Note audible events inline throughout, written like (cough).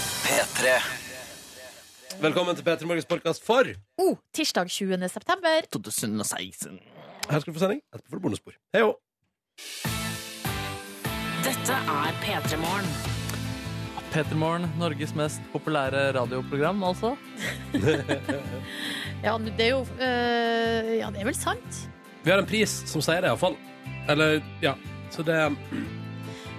P3. Velkommen til P3 Morgens podkast for Her Oh, tirsdag 20. september. 2016. skal du få sending. Etterpå får du bonusspor. Hei jo. Dette er P3 Morgen. Petermorgen, Norges mest populære radioprogram, altså. Ja, men det er jo øh, Ja, det er vel sant? Vi har en pris som sier det, iallfall. Eller, ja. Så det um,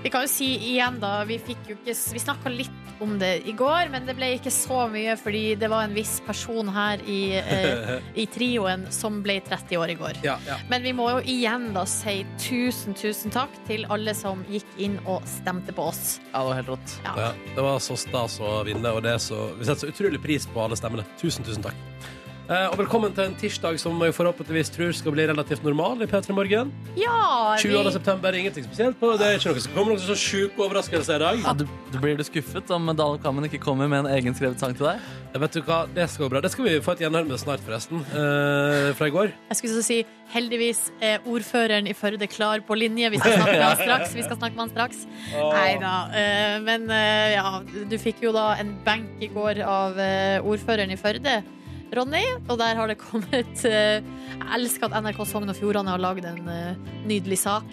Vi kan jo si igjen, da. Vi, fikk jo ikke, vi snakka litt om det i går, men det ble ikke så mye fordi det var en viss person her i, eh, i trioen som ble 30 år i går. (laughs) Ja, ja. Men vi må jo igjen da si tusen, tusen takk til alle som gikk inn og stemte på oss. Ja, det var helt rått. ja. Det var så stas å vinne, og det er så, vi setter så utrolig pris på alle stemmene. Tusen, tusen takk. Eh, og velkommen til en tirsdag som jeg forhåpentligvis tror skal bli relativt normal i P3 Morgen. Ja! Vi, 20. september, ingenting spesielt på. Det er ikke noe som kommer noen så sjuke overraskelser i dag. Ah. Ja, du, du blir du skuffet om Dale Kammen ikke kommer med en egenskrevet sang til deg? Ja, Vet du hva, Det skal gå bra. Det skal vi få et gjenhør med snart, forresten. Eh, fra i går. jeg skulle så si heldigvis er ordføreren i Førde klar på linje. Vi skal snakke med han straks. Vi skal snakke med han straks. Nei da. eh, Men eh, ja, du fikk jo da en benk i går av eh, ordføreren i Førde, Ronny. Og der har det kommet eh, Jeg elsker at NRK Sogn og Fjordane har lagd en eh, nydelig sak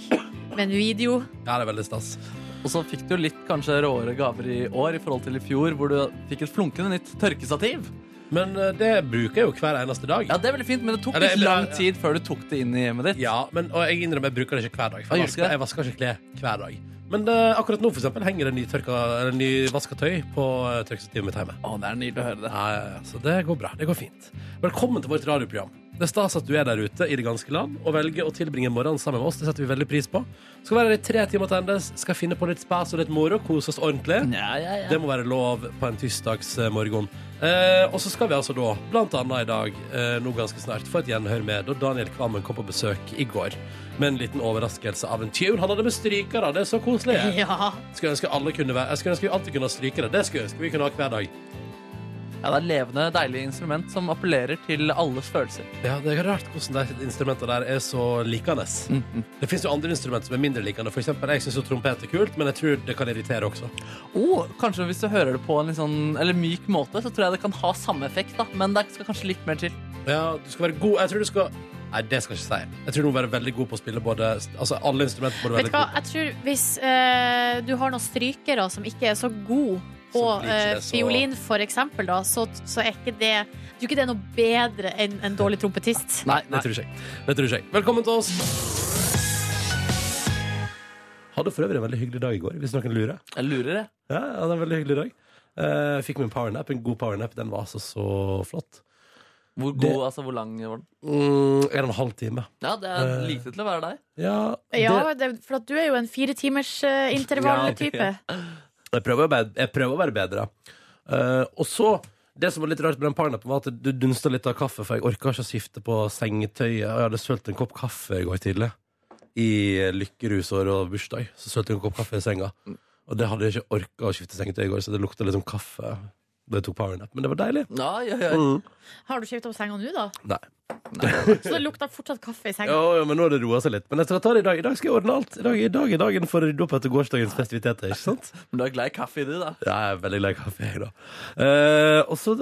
med en video. Ja, det er veldig stas. Og så fikk du litt kanskje råere gaver i år i forhold til i fjor, hvor du fikk et flunkende nytt tørkestativ. Men eh, det bruker jeg jo hver eneste dag. Ja, det er veldig fint, men det tok Ja, det- litt lang ja. tid før du tok det inn i hjemmet ditt. Ja, men, og jeg innrømmer jeg bruker det ikke hver dag. For Ah, jeg, gjør du ikke vasker, det? jeg vasker ikke klær hver dag. Men eh, akkurat nå for eksempel, henger det nytørka, eller nyvaska tøy på uh, tørkestativet mitt hjemme. Å, det er nydelig å høre det. Ja, ja, ja, så det går bra. Det går fint. Velkommen til vårt radioprogram. Det er stas at du er der ute i det ganske land og velger å tilbringe morgenen sammen med oss. Det setter vi veldig pris på. Skal være her i tre timer til endes, skal finne på litt spas og litt moro, kose oss ordentlig. Ja, ja, ja. Det må være lov på en tirsdagsmorgen. Eh, og så skal vi altså da, blant annet i dag, eh, nå ganske snart, få et gjenhør med da Daniel Kvammen kom på besøk i går. Med en liten overraskelse av en tune. Han hadde med strykere, det er så koselig. Ja. Skulle ønske alle kunne være Jeg skulle ønske vi alltid kunne ha strykere. Det skulle jeg ønske vi kunne ha hver dag. ja, det er et levende, deilig instrument som appellerer til alles følelser. Ja, det er rart hvordan de instrumentene der er så likende. Det fins jo andre instrumenter som er mindre likende. For eksempel, jeg syns jo trompet er kult, men jeg tror det kan irritere også. Oh, kanskje hvis du hører det på en litt sånn, eller myk måte, så tror jeg det kan ha samme effekt, da. Men det skal kanskje litt mer til. Ja, du skal være god Jeg tror du skal Nei, det skal jeg ikke si. Jeg tror du må være veldig god på å spille både Altså, alle instrumenter må du være Vet veldig du hva, god på. jeg tror hvis eh, du har noen strykere som ikke er så gode på Så blir ikke eh, det så- fiolin, for eksempel, da, så, så er ikke det Jeg tror ikke det er noe bedre enn en dårlig trompetist. Nei, Det tror ikke jeg. Det tror ikke jeg. Velkommen til oss. Hadde for øvrig en veldig hyggelig dag i går, hvis noen lurer. Jeg lurer, jeg. Ja, jeg hadde en veldig hyggelig dag. Eh, fikk meg en powernap, en god powernap. Den var altså så flott. Hvor god, Det- altså hvor lang var den? Mm, en og en halv time. Ja, det er Eh. lite til å være deg. Ja, Ja, det, for at du er jo en fire timers eh, intervall-type. Ja, Jeg prøver å, be- jeg prøver å være bedre. Eh, og så Det som var litt rart med den parnappen, var at du dunsta litt av kaffe, for jeg orka ikke å skifte på sengetøyet. Og jeg hadde sølt en kopp kaffe i går tidlig. I lykkerusår og bursdag. Så sølte jeg en kopp kaffe i senga. Og det hadde jeg ikke orka å skifte sengetøy i går, så det lukta liksom kaffe da jeg tok powernap. Men det var deilig. Ja, ja, ja. Mm. Har du skifta på senga nå, da? Nei. Så det lukter fortsatt kaffe i senga. Ja, ja, men nå har det roa seg litt. Men jeg skal ta det i dag. I dag skal jeg ordne alt. I dag, i dag er dagen for å rydde opp etter gårsdagens festiviteter. ikke sant? Men du er glad i kaffe i det, da. Ja, Jeg er veldig glad i kaffe, jeg, da. Eh, og så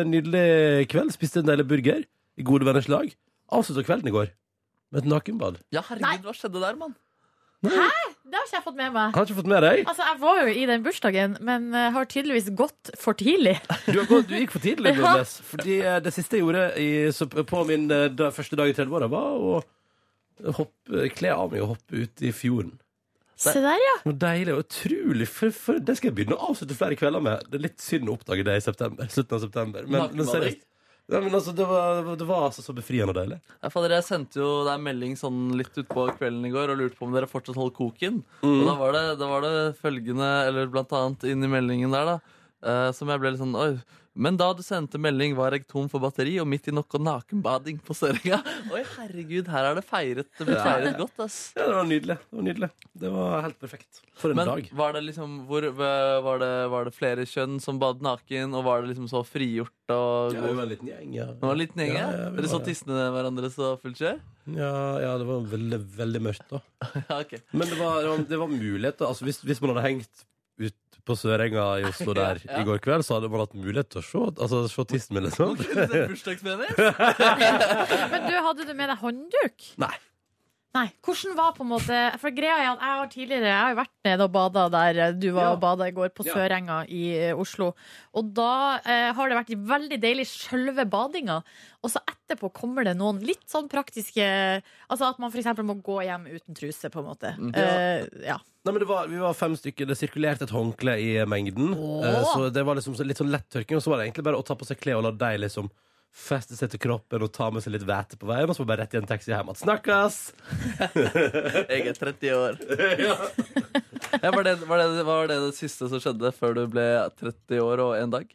eh, nydelig kveld. Spiste en deilig burger i gode venners lag. Avslutta kvelden i går med et nakenbad. Ja, herregud, hva skjedde der, mann? Det har ikke jeg fått med meg. Har ikke fått med deg? Altså, Jeg var jo i den bursdagen, men eh, har tydeligvis gått for tidlig. Du, har gått, du gikk for tidlig, Nordnes. Fordi eh, det siste jeg gjorde i, så, på min eh, da, første dag i 30-åra, var å hoppe, kle av meg og hoppe ut i fjorden. Se der, ja. Noe deilig og utrolig. For, for, det skal jeg begynne å avslutte flere kvelder med. Det er litt synd å oppdage det i september. Slutten av september. Men, men Nakenbading? seriøst. Ja, men altså, det, var, det var altså så befriende og deilig. Ja, fader, jeg sendte jo deg en melding sånn litt utpå kvelden i går og lurte på om dere fortsatt holdt koken. Mm. Og da var, det, da var det følgende, eller blant annet inn i meldingen der, da, eh, som jeg ble litt sånn Oi. Men da du sendte melding, var jeg tom for batteri og midt i noe nakenbading på Sørenga. (laughs) Oi, herregud, her er det feiret. Det blir feiret godt, ass. Ja, det var nydelig. Det var, nydelig. Det var helt perfekt. For en Men dag. var det liksom hvor, var, det, var det flere kjønn som badet naken, og var det liksom så frigjort og Ja, vi var en liten gjeng, ja. Det var en liten gjeng, ja. Ja, ja, vi Dere så var det. tissene hverandre så fullt kjør? Ja, ja, det var veldig, veldig mørkt da. (laughs) Ja, ok. (laughs) Men det var, det var, det var muligheter. Altså, hvis, hvis man hadde hengt ut på Sørenga i (laughs) Oslo der Ja. i går kveld, så hadde man hatt mulighet til å se, altså, se tissen min, (laughs) liksom. Kunne du sett bursdagspenis? Men du, hadde du med deg håndduk? Nei. Nei, hvordan var på en måte For greia er at jeg har tidligere Jeg har jo vært nede og bada der du var Ja. og bada i går, på Ja. Sørenga i eh, Oslo. Og da eh, har det vært veldig deilig sjølve badinga. Og så etterpå kommer det noen litt sånn praktiske Altså at man f.eks. må gå hjem uten truse, på en måte. Mm, Eh, ja. Nei, men det var, Vi var fem stykker. Det sirkulerte et håndkle i mengden. Åh. Eh, Så det var liksom så litt sånn lettørking. Og så var det egentlig bare å ta på seg klær og la deg liksom feste seg til kroppen og ta med seg litt væte på veien. Og så var det bare rett i en taxi hjem igjen. Snakkes! Jeg er 30 (laughs) år. Ja, var, det, var, det, var det det siste som skjedde før du ble 30 år og en dag?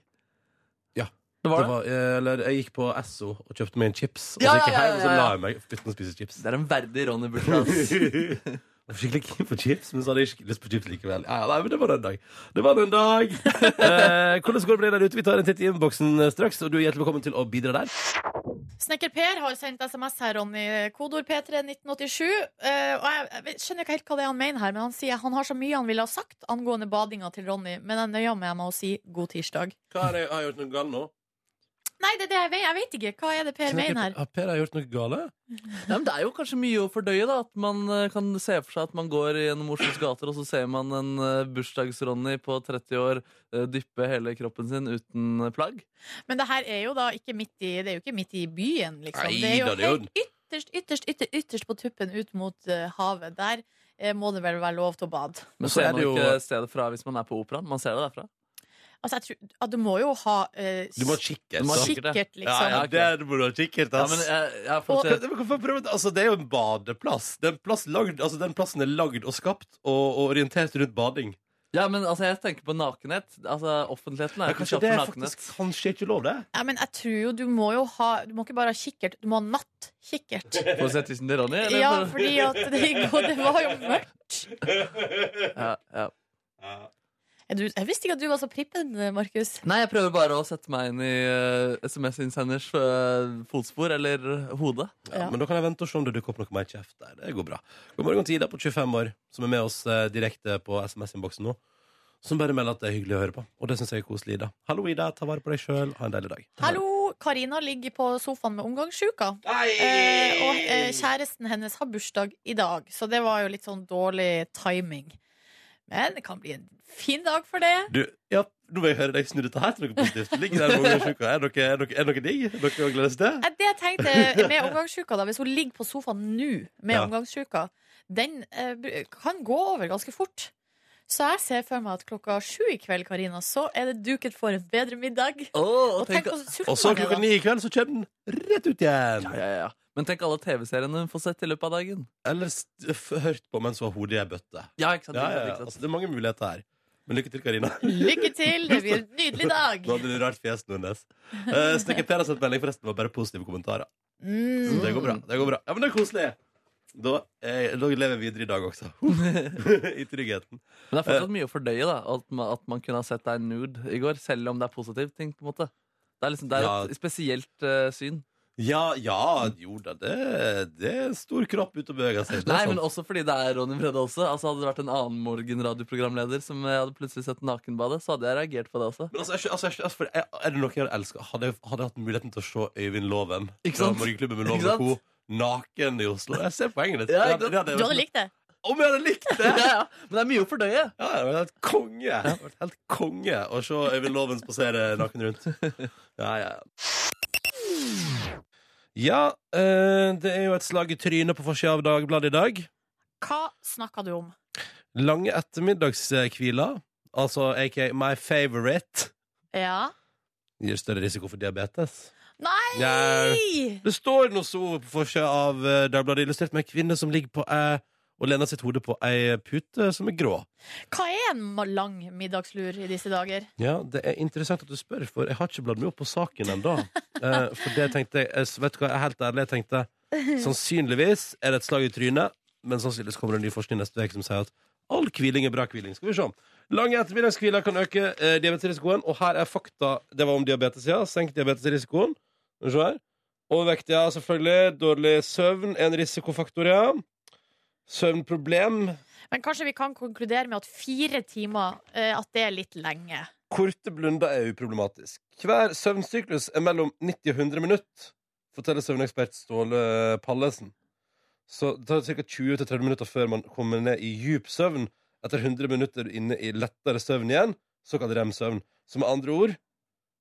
Ja. Det Det var det? var, eh, eller, jeg gikk på Esso og kjøpte meg en chips. Og Ja, så gikk jeg ja, ja, hjem og så ja, ja. la jeg meg uten å spise chips. (laughs) Det er en verdig Ronny-bursdag. ass. Jeg var Skikkelig keen på chips, men så hadde jeg ikke lyst på chips likevel. Ja, ja, nei, men Det var den dag. Det var den dag (laughs) eh, Hvordan går det der ute? Vi tar en titt i innboksen eh, straks, og du er hjertelig velkommen til å bidra der. Snekker Per har sendt SMS her, Ronny. Kodord P3 1987. Eh, og jeg, jeg skjønner ikke helt hva det er han mener her, men han sier han har så mye han ville ha sagt angående badinga til Ronny, men jeg nøyer meg med å si god tirsdag. Hva har jeg, har jeg gjort noe galt nå? Nei, det er det jeg vet. Jeg vet ikke. Hva er det Per mener her? Har Per har gjort noe gale? Nei, men det er jo kanskje mye å fordøye, da. At man eh, kan se for seg at man går gjennom Oslos gater, og så ser man en eh, bursdags-Ronny på 30 år eh, dyppe hele kroppen sin uten eh, plagg. Men det her er jo da ikke midt i Det er jo ikke midt i byen, liksom. Nei, det er jo da, det er jo- helt ytterst, ytterst, ytterst, ytterst på tuppen ut mot eh, havet. Der eh, må det vel være lov til å bade. Men så er ser man det jo- ikke stedet fra hvis man er på operaen. Man ser det derfra. Altså, jeg tror ja, Du må jo ha eh, Du må ha kikkert. Du må ha sant? kikkert, kikkert, liksom. Ja, ja, ok. der må du ha kikkert, Ja, ass. men jeg, jeg får Og- se. Men hvorfor prøver du- altså, det er jo en badeplass. Den, plass lagd, altså, den plassen er lagd og skapt og, og orientert rundt bading. Ja, men altså, jeg tenker på nakenhet. Altså, Offentligheten er Ja, jo ikke kanskje skapt det for er nakenhet. faktisk (laughs) kanskje ikke lov, det. Ja, men jeg tror jo du må jo ha Du må ikke bare ha kikkert, du må ha (laughs) nattkikkert. Får se tissen til Ronny? eller? Ja, fordi at det, i går- det var jo mørkt. ja, ja. Er du, jeg visste ikke at du var så prippen, Markus. Nei, jeg prøver bare å sette meg inn i eh, SMS-innsenders eh, fotspor, eller hode. Ja, Ja. Men da kan jeg vente og se om det dukker opp noe mer kjeft der. Det går bra. God morgen til Ida på 25 år, som er med oss eh, direkte på SMS-innboksen nå. Som bare melder at det er hyggelig å høre på. Og det syns jeg er koselig, Ida. Hallo, Ida. Ta vare på deg sjøl. Ha en deilig dag. Hallo, Karina ligger på sofaen med omgangssjuka. Eh, og eh, kjæresten hennes har bursdag i dag, så det var jo litt sånn dårlig timing. Men det kan bli en fin dag for det. Du, ja, nå vil jeg høre deg snu dette her til noe positivt. Ligger der mange sjuke. Er dere, er dere, er dere digg? Er dere gleder seg til? Eh, Det jeg (laughs) tenkte med omgangssjuka, da, hvis hun ligger på sofaen nå med Ja. omgangssjuka, den eh, br- kan gå over ganske fort. Så jeg ser for meg at klokka sju i kveld, Karina, så er det duket for en bedre middag. Oh, Og tenk ja, hvor sulten Og så man er klokka da. ni i kveld så kommer den rett ut igjen. ja, ja. Men tenk alle TV-seriene hun får sett i løpet av dagen. Eller st- f- hørt på mens hun har hodet i ei bøtte. Ja, ikke sant? Ja, ja, ja. Ikke sant? Altså, det er mange muligheter her. Men lykke til, Karina. Lykke til, det blir en (laughs) nydelig dag. Nå hadde du rart fjeset hennes. Uh, Snekker Per har sendt melding, forresten. Det var bare positive kommentarer. Så Mm. det går bra. det går bra Ja, men det er koselig. Da, eh, da lever jeg videre i dag (laughs) også. (laughs) I tryggheten. Men det er Eh. fortsatt mye å fordøye, da. At man, at man kunne ha sett deg nude i går, selv om det er positive ting. på en måte Det er, liksom, det er Ja. et spesielt eh, syn. Ja, ja, jo da, det, det er en stor kropp ute og beveger seg. Det er sånn. Nei, sant. men også fordi det er Ronny Brede også. Altså Hadde det vært en annen morgenradioprogramleder som jeg hadde plutselig sett nakenbadet, så hadde jeg reagert på det (laughs) også. Men altså, jeg, skjø- altså, jeg, skjø- altså, for jeg, er det noe jeg hadde elska? Hadde, jeg- hadde jeg hatt muligheten til å se Øyvind Loven Ikke fra sant? Morgenklubben med Ikke Loven og Co. sant? naken i Oslo? Jeg ser poenget ditt. Ja, Det hadde- ikke sant? det hadde Du hadde vært- likt det. Om jeg hadde likt det! Ja, ja. Men det er mye å Ja, fordøye. det hadde vært helt konge. Det hadde vært helt konge å se Øyvind Loven spasere naken rundt. Ja, ja. Ja, eh, det er jo et slag i trynet på forsida av Dagbladet i dag. Hva snakka du om? Lange ettermiddagshviler, altså aka my favorite, Ja. gir større risiko for diabetes. Nei! Ja. Det står noe så på forsida av eh, Dagbladet Illustrert med en kvinne som ligger på eh, og lener sitt hode på ei pute som er grå. Hva er en lang middagslur i disse dager? Ja, Det er interessant at du spør, for jeg har ikke bladd meg opp på saken ennå. Eh, for det tenkte jeg, eh, vet du hva, jeg er helt ærlig, jeg tenkte sannsynligvis er det et slag i trynet, men sannsynligvis kommer det en ny forskning neste uke som sier at all hviling er bra hviling. Skal vi se. Lange ettermiddagshviler kan øke eh, diabetesrisikoen, og her er fakta. Det var om diabetes, ja. Senk diabetesrisikoen. Skal vi se her. Overvekt, ja, selvfølgelig. Dårlig søvn, en risikofaktor, ja. Søvnproblem Men kanskje vi kan konkludere med at fire timer eh, At det er litt lenge. Korte blunder er uproblematisk. Hver søvnsyklus er mellom 90 og 100 minutter, forteller søvnekspert Ståle Pallesen. Så det tar ca. 20-30 minutter før man kommer ned i dyp søvn. Etter 100 minutter inne i lettere søvn igjen, såkalt rem-søvn. Så med andre ord,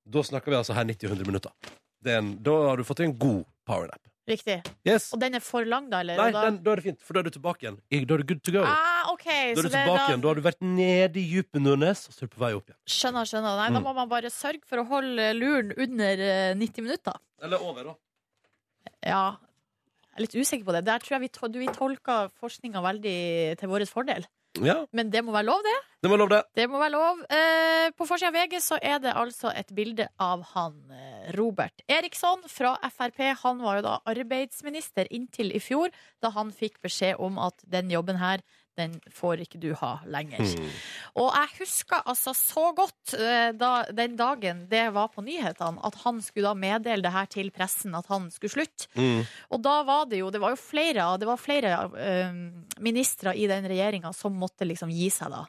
da snakker vi altså her 90-100 minutter. Det er en, da har du fått en god powernap. Riktig. Yes. Og den er for lang, da? Eller? Nei, Og da... den, da er det fint, for da er du tilbake igjen. I- Da er du good to go. Ah, ok, Da er så du det er tilbake da- igjen. Da har du vært nede i dypet, Nordnes, og så er du på vei opp igjen. Skjønner, skjønner. Nei, Da Mm. må man bare sørge for å holde luren under eh, 90 minutter. Eller over, da. Ja. Jeg er litt usikker på det. Der tror jeg vi, to du- vi tolka forskninga veldig til vår fordel. Ja, Men det må være lov, det. det må jeg love det. Det må være lov. Eh, på forsida av VG så er det altså et bilde av han eh, Robert Eriksson fra Frp. Han var jo da arbeidsminister inntil i fjor, da han fikk beskjed om at den jobben her, den får ikke du ha lenger. Og jeg husker altså så godt eh, da, den dagen det var på nyhetene, at han skulle da meddele det her til pressen, at han skulle slutte. Mm. Og da var det jo Det var jo flere, av- det var flere eh, ministre i den regjeringa som måtte liksom gi seg, da.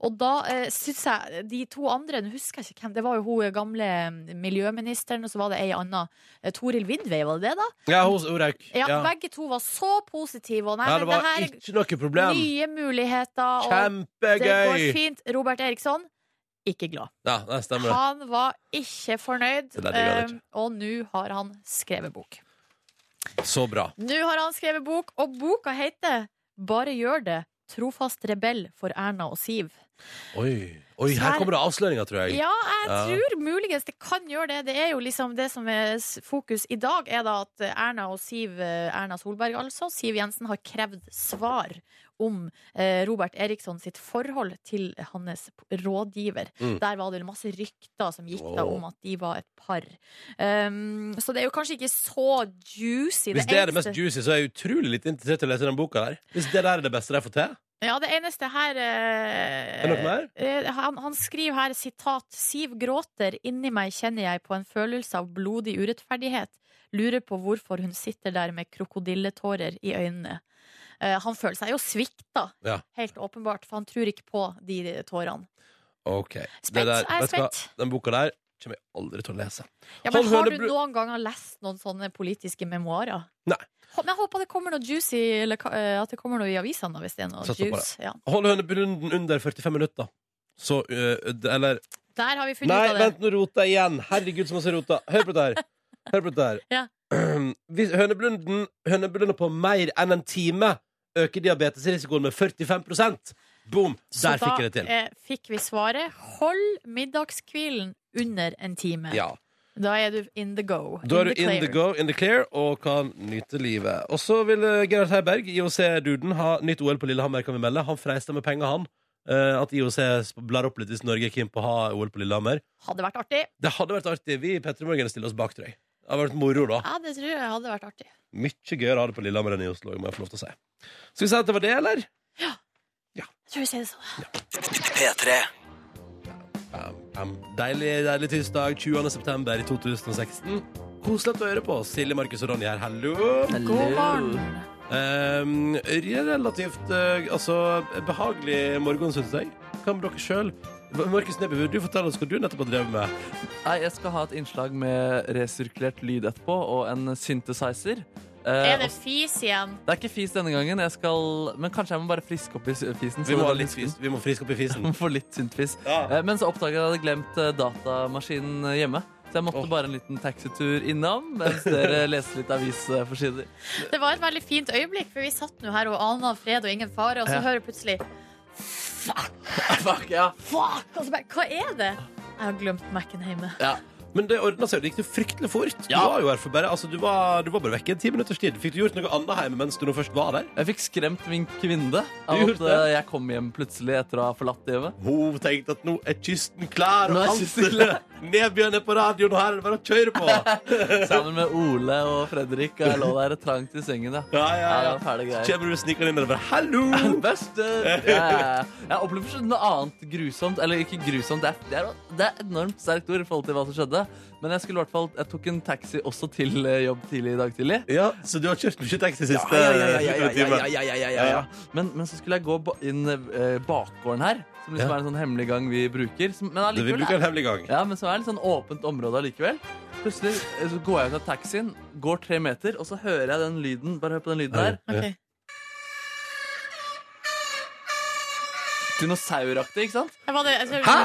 Og da eh, syns jeg de to andre Nå husker jeg ikke hvem. Det var jo hun gamle mm, miljøministeren, og så var det ei anna. Eh, Toril Vidvei, var det det, da? Ja, hos Orek. Ja, Begge to var så positive. Og nei, Ja, det men var det her ikke noe er problem. nye muligheter, og det går Kjempegøy! fint. Robert Eriksson, ikke glad. Ja, det stemmer. det. Han var ikke fornøyd, Det der digger han ikke. eh, og nå har han skrevet bok. Så bra. Nå har han skrevet bok, og boka heter Bare gjør det. Trofast rebell for Erna og Siv. Oi, Oi her Så her- kommer det avsløringer, tror jeg. Ja, jeg Ja. tror muligens det kan gjøre det. Det er jo liksom det som er s- fokus i dag, er da at Erna og Siv eh, Erna Solberg, altså, Siv Jensen, har krevd svar om eh, Robert Eriksson sitt forhold til hans rådgiver. Mm. Der var det masse rykter som gikk da Åh. om at de var et par. Um, så det er jo kanskje ikke så juicy. Hvis det er det eneste- mest juicy, så er jeg utrolig litt interessert i å lese den boka der. Hvis det der er det beste de får til. Ja, det eneste her eh, Er det noe mer? eh, han, han skriver her sitat Siv gråter, inni meg kjenner jeg på en følelse av blodig urettferdighet. Lurer på hvorfor hun sitter der med krokodilletårer i øynene. Eh, han føler seg jo svikta, Ja. helt åpenbart, for han tror ikke på de tårene. Ok. Spent, der, jeg er vet du hva? spent. Den boka der kommer jeg aldri til å lese. Ja, men Hold har høne du bru- noen ganger lest noen sånne politiske memoarer? Nei. Hå- Men jeg håper det kommer noe juicy, eller ka- eh, at det kommer noe i avisene, da, hvis det er noe Satser på juice. Ja. Hold hønebunden under 45 minutter. Så øh, d- Eller Der har vi funnet Nei, ut av det. vent, nå roter jeg igjen. Herregud, så masse rota. Hør på dette her. Hør på dette her. Ja. (clears throat) Hvis høneblunden, høneblunder på mer enn en time øker diabetesrisikoen med 45 Boom! Så Der fikk jeg det til. Da eh, fikk vi svaret. Hold middagskvilen under en time. Ja. Da er du in the go. Da er du in the clear. go, in the clear, og kan nyte livet. Og så vil eh, Gerhard Heiberg, IOC-duden, ha nytt OL på Lillehammer, kan vi melde. Han freista med penger, han. Eh, at IOC blar opp litt hvis Norge er keen på å ha OL på Lillehammer. Hadde vært artig. Det hadde vært artig. Vi i Petter Morgen stiller oss bak, tror jeg. Det hadde vært moro, da. Ja, det tror jeg hadde vært artig. Mye gøyere å ha det på Lillehammer enn i Oslo, må jeg få lov til å si. Skal vi si at det var det, eller? Jeg tror vi sier det sånn. Bam, bam. Deilig, deilig tirsdag 20. september i 2016. Koselig at du hører på. Silje, Markus og Ronny her, hallo. God morgen. Um, relativt eh, altså, behagelig morgen, syns jeg. Hva med dere sjøl? Markus Neby, vil du fortelle oss hva du nettopp har drevet med? Nei, jeg skal ha et innslag med resirkulert lyd etterpå, og en synthesizer. Eh, Er det og- altså- fis igjen? det er ikke fis denne gangen, jeg skal, men kanskje jeg må bare friske opp i s- fisen. så Vi må, det ha bare litt (laughs) fis, vi må friske opp i fisen. må få litt syntfis. (laughs) Ja. Eh, Men så oppdaget jeg at jeg hadde glemt eh, datamaskinen eh, hjemme. Så jeg måtte Åh. bare en liten taxitur innom (laughs) mens dere leste litt avisforsider. Det var et veldig fint øyeblikk, for vi satt nå her og ana fred og ingen fare, og så Ja. hører jeg plutselig (laughs) Fuck, ja. Fuck! Og så bare Hva er det? Jeg har glemt Mac-en hjemme. Men det ordna seg, jo, det gikk jo fryktelig fort. Du Ja. var jo her for bare, altså, du var, du var bare vekke en ti minutters tid. Fikk du gjort noe annet hjemme mens du nå først var der? Jeg fikk skremt min kvinne av Du at gjorde det? eh, jeg kom hjem plutselig etter å ha forlatt hjemmet. Hun tenkte at nå er kysten klar. Nå og er alt- kysten klar. Nebjørn er på radioen, og her er det bare å kjøre (laughs) på! Sammen med Ole og Fredrik. Og jeg lå der trangt i sengen. Ja. Ja, ja, Ja, det ja. var fæle greier. Kommer du snikende inn og bare 'hallo'? Beste! eh, Ja, ja, ja. Jeg opplever ikke noe annet grusomt. Eller ikke grusomt, det er, det, er, det er et enormt sterkt ord i forhold til hva som skjedde. Men jeg skulle i hvert fall, jeg tok en taxi også til eh, jobb tidlig i dag tidlig. Ja, så du har kjørt mye taxi siste Ja, ja, ja, ja, utover ja, ja, timen? ja, ja, ja, ja, ja. Men, men så skulle jeg gå ba- inn eh, bakgården her, som liksom Ja. er en sånn hemmelig gang vi bruker. Som, men Du, Vi allikevel bruker er, en hemmelig gang. ja, men så er det litt sånn åpent område allikevel. Plutselig eh, så går jeg ut av taxien, går tre meter, og så hører jeg den lyden. Bare hør på den lyden der. Ok. Dinosauraktig, ikke sant? Jeg var det, jeg, Hæ?!